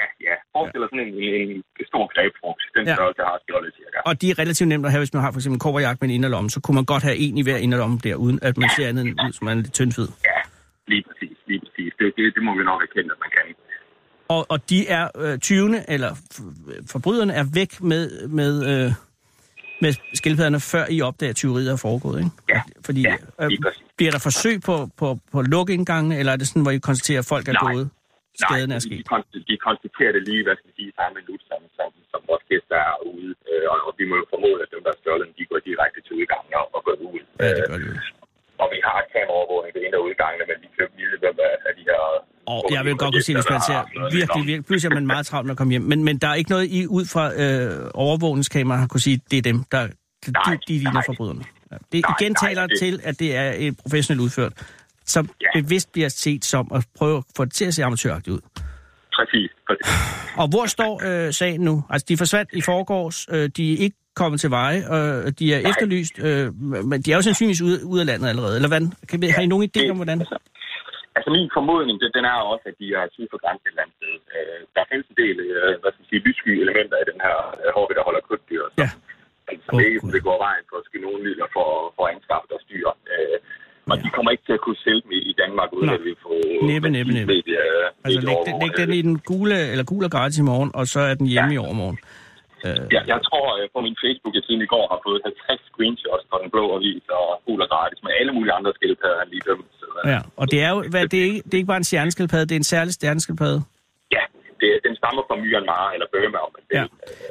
Ja, ja. Forestiller sådan en, en, en stor grebfrugt. Den
Ja.
ja. størrelse har skjoldet cirka.
Og de er relativt nemt at have, hvis man har for eksempel en kobberjagt med en inderlomme, så kunne man godt have en i hver inderlomme der, uden at man ser andet end ud, som man er lidt tyndfed.
Lige præcis, lige præcis. Det, det, det må vi nok erkende, at man kan.
Og, og de er øh, tyvene, eller f- forbryderne, er væk med, med, øh, med skildpadderne, før I opdager, at tyveriet er foregået, ikke? Ja. Fordi, ja, øh, bliver der forsøg på, på, på lukindgangen, eller er det sådan, hvor I konstaterer, at folk er
Nej.
gået? skaden
Nej,
er
de-
sket.
De, kon- de konstaterer det lige, hvad skal vi sige, i samme minut, som, som, som vores gæster er ude. Øh, og, og, vi må jo formode, at dem, der er stjålet, de går direkte til udgangen og, og går ud. Ja, det gør de. Og vi har kameraovervågning ved ind- og udgangene, men vi kan jo ikke vide, hvem af- af de her...
Og jeg vil godt kunne se, hvis man ser virkelig, virkelig, pludselig er man meget travlt med at komme hjem. Men, men der er ikke noget, I ud fra øh, overvågningskameraer har kunne sige, det er dem, der de, de, de ligner forbryderne. Ja. Det
Nej,
igen
nej,
taler
det-
til, at det er et professionelt udført, som bevidst bliver set som at prøve at få det til at se amatøragtigt ud.
Præcis, præcis.
Og hvor står øh, sagen nu? Altså, de forsvandt i forgårs, øh, de er ikke kommet til veje, øh, de er efterlyst, øh, men de er jo sandsynligvis ude, ude af landet allerede. Eller hvad? Kan, vi- har I nogen idé om, hvordan?
Altså min formodning, den, den er også, at de er syd for grænsen et eller andet sted. Øh, der findes en del, øh, hvad skal man sige, lyssky elementer i den her øh, hårde, der holder krybdyr, som,
ja.
som ikke vil gå vejen for at skyde nogen midler for, for at anskaffe deres dyr. Øh, og de kommer ikke til at kunne sælge dem i, i Danmark, uden
Nej.
at vi får...
Næppe, næppe, næppe.
Medie, øh,
Altså, læg, den- læg den i den gule, eller gul og gratis i morgen, og så er den hjemme ja. i overmorgen. Øh,
Jeg, jeg tror øh, på min Facebook, jeg siden i går har fået 50 screenshots fra den blå avis og gul og gratis med alle mulige andre skildpadder end lige dømt. Så, øh,
ja. Og det er jo hvad, det er ikke, det er ikke bare en stjerneskildpadde, det er en særlig stjerneskildpadde.
ja, det, den stammer fra Myanmar eller Burma, om man
Ja.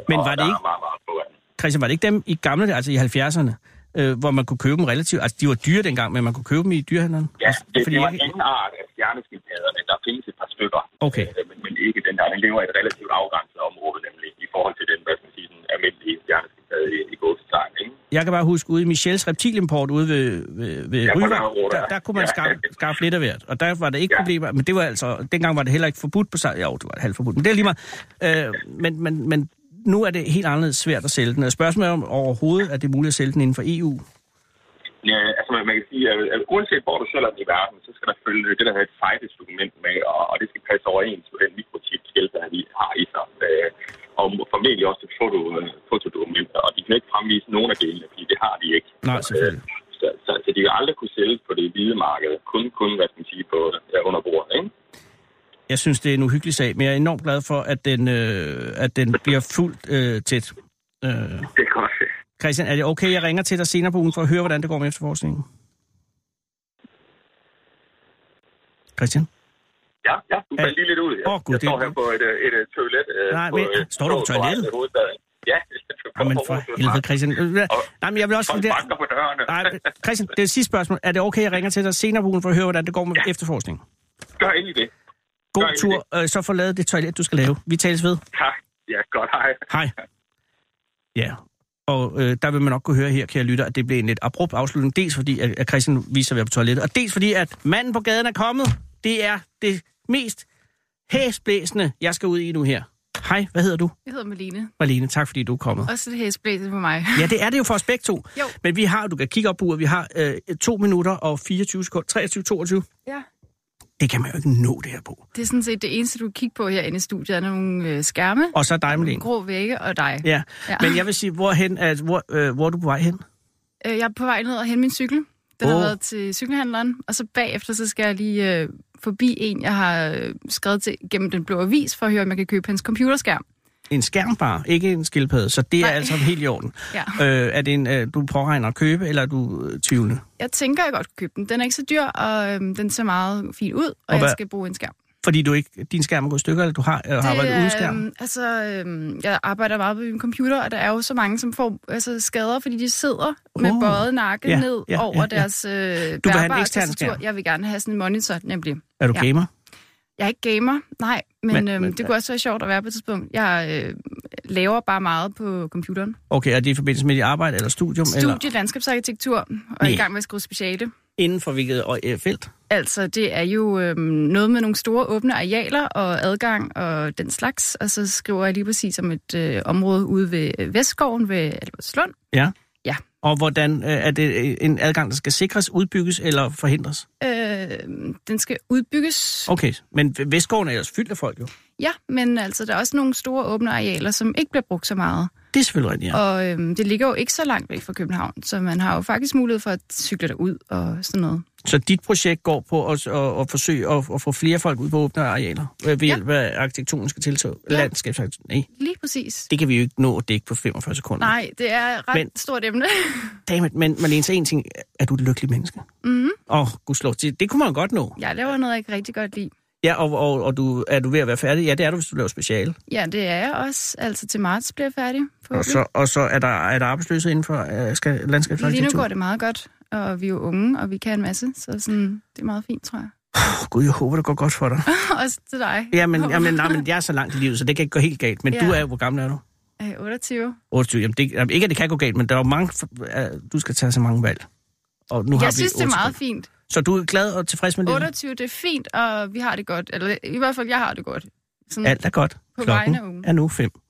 Men
og
var det
der
ikke,
er meget, meget få af dem.
Christian, var det ikke dem i gamle dage, altså i 70'erne, øh, hvor man kunne købe dem relativt... Altså, de var dyre dengang, men man kunne købe dem i dyrehandleren?
Ja,
Altså,
det,
fordi
det var
jeg-
en anden art af stjerneskildpadderne. Der findes et par stykker,
Okay.
øh, men, men ikke den der. Den lever i et relativt afgrænset område, nemlig i forhold til den, hvad skal man sige, den almindelige stjerneskildpadde i, i godstegn. ikke?
Jeg kan bare huske, ude i Michels reptilimport ude ved, ved, ved
Ja, på
Ryvang,
Nørrebro,
der,
der.
der kunne man
Ja.
skaffe, skaffe lidt af hvert. Og der var der ikke ja. problemer, men det var altså... Dengang var det heller ikke forbudt på sig. Jo, det var halvt forbudt, men det er lige meget. Øh, men, men, men nu er det helt anderledes svært at sælge den. Og spørgsmålet er om overhovedet, at det er muligt at sælge den inden for E EU.
Ja, altså man, man kan sige, at, at uanset hvor du sælger den i verden, så skal der følge det, der hedder et fejlesdokument med, og, og det skal passe overens med den mikrochip, skildpadden i- har i sig. Øh, og formentlig også et foto, øh, fotodokument, og de kan ikke fremvise nogen af delene, fordi det har de ikke. Øh,
Nej, selvfølgelig.
Så, så, så de vil aldrig kunne sælge på det hvide marked, kun, kun hvad skal man sige, på, ja, under bordet, ikke?
Jeg synes, det er en uhyggelig sag, men jeg er enormt glad for, at den, øh, at den bliver fuldt øh, tæt. Øh,
Det er godt.
Christian, er det okay, jeg ringer til dig senere på ugen for at høre, hvordan det går med efterforskningen? Christian?
Ja, ja, du faldt lige lidt ud. Jeg,
Åh, Gud,
jeg
det-
står her på et, øh, et, et toilet. øh,
Nej,
på,
men-
øh,
står du på
vej til
toilettet?
hovedstaden. Ja,
Jamen for helvede, Christian. Øh, Nej, men jeg vil også...
Folk banker på dørene.
Nej, men Christian, det er det sidste spørgsmål. Er det okay, jeg ringer til dig senere på ugen for at høre, hvordan det går med ja. efterforskningen?
Gør endelig det.
God
Gør endelig
tur, øh, så få lavet det toilet, du skal lave. Vi tales ved.
Tak. Ja, godt. Hej.
Hej. Ja, og øh, der vil man nok kunne høre her, kære lytter, at det blev en lidt abrupt afslutning. Dels fordi, at at Christian viser at være på toilettet, og dels fordi, at manden på gaden er kommet. Det er det mest hæsblæsende, jeg skal ud i nu her. Hej, hvad hedder du?
Jeg hedder Malene.
Marlene, tak fordi du er kommet.
Også det hæsblæset på mig.
Ja, det er det jo for os begge to.
Jo.
Men vi har, du kan kigge op på uret, vi har øh, 2 minutter og 24 sekunder, 23, 22.
Ja.
Det kan man jo ikke nå det her på.
Det er sådan set det eneste, du kan kigge på herinde i studiet, er nogle øh, skærme,
Og så dig, Malene.
grå vægge og dig.
Ja. ja, men jeg vil sige, hvorhen, altså, hvor, øh, hvor er du på vej hen?
Øh, Jeg er på vej ned og hente min cykel. Den oh. har
Åh.
været til cykelhandleren, og så bagefter så skal jeg lige øh, forbi en, jeg har øh, skrevet til gennem den blå avis, for at høre, om jeg kan købe hans computerskærm.
En skærmbar, ikke en skildpadde, så det Nej. er altså helt i orden.
Ja.
Øh, er det en, øh, du påregner at købe, eller er du øh, tvivlende?
Jeg tænker, jeg godt kan købe den. Den er ikke så dyr, og øhm, den ser meget fin ud, og,
Og
jeg
hvad-
skal bruge en skærm.
Fordi du ikke, din skærm er gået i stykker, eller du har, øh, har arbejdet
er,
uden skærm?
øhm, altså, øhm, jeg arbejder meget på min computer, og der er jo så mange, som får altså, skader, fordi de sidder oh. med
Åh.
bøjet nakke
Ja,
ja, ned
ja,
ja, over
ja,
ja,
ja.
deres øh, du vil
have en ekstern skærm.
Jeg vil gerne have sådan en monitor, nemlig.
Er du gamer?
Jeg er ikke gamer, nej, men,
Men-
men, øhm,
men-
det kunne også være sjovt at være på et tidspunkt. Jeg øh, laver bare meget på computeren.
Okay, er det i forbindelse med dit arbejde, eller studium, eller
Studie, landskabsarkitektur, og er
Nej.
i gang med at skrive speciale.
inden for hvilket øh, felt?
Altså, det er jo øhm, noget med nogle store åbne arealer og adgang og den slags. Og så skriver jeg lige præcis om et øh, område ude ved øh, Vestskoven ved Albertslund.
Ja.
Ja.
Og hvordan øh, er det øh, en adgang, der skal sikres, udbygges eller forhindres?
Øh, den skal udbygges.
Okay, men Vestgården er ellers fyldt af folk jo.
Ja, men altså, der er også nogle store åbne arealer, som ikke bliver brugt så meget.
Det er selvfølgelig rigtigt, ja.
Og øhm, det ligger jo ikke så langt væk fra København, så man har jo faktisk mulighed for at cykle derud og sådan noget.
Så dit projekt går på at, at, at forsøge at, at få flere folk ud på åbne arealer øh, ved
Ja.
hjælp af arkitektoniske tiltag? Ja. Landskabsarkitekt? Nej,
Lige præcis.
det kan vi jo ikke nå at dække på 45 sekunder.
Nej, det er ret
Men-
men... stort emne.
Dammit, men Marlene, så en ting. Er du et lykkeligt menneske?
mm-hmm.
Åh, oh, gudslov, det, det kunne man jo godt nå.
Jeg laver noget, jeg ikke rigtig godt lide.
Ja, og, og, og du, er du ved at være færdig? Ja, det er du, hvis du laver speciale.
Ja, det er jeg også. Altså til marts bliver jeg færdig.
Og
forhåbentlig.
så, og så er der, er der arbejdsløshed inden for øh, skal,
Lige
landskabsarkitektur?
nu går det meget godt, og vi er jo unge, og vi kan en masse, så sådan, det er meget fint, tror jeg.
Åh, Gud, jeg håber, det går godt for dig.
også til dig.
Jamen, jamen, nej, men jeg er så langt i livet, så det kan ikke gå helt galt. Men
Ja.
du er, hvor gammel er du?
Øh, 28.
28. Jamen, det, jamen, ikke, at det kan gå galt, men der er jo mange, øh, du skal tage så mange valg. Og nu har vi
jeg synes, det er
28.
meget fint.
Så du er glad og tilfreds med livet?
28, det er fint, og vi har det godt. Eller i hvert fald, jeg har det godt. Sådan,
Alt er godt.
På
Klokken
vegne af ugen.
er nu fem.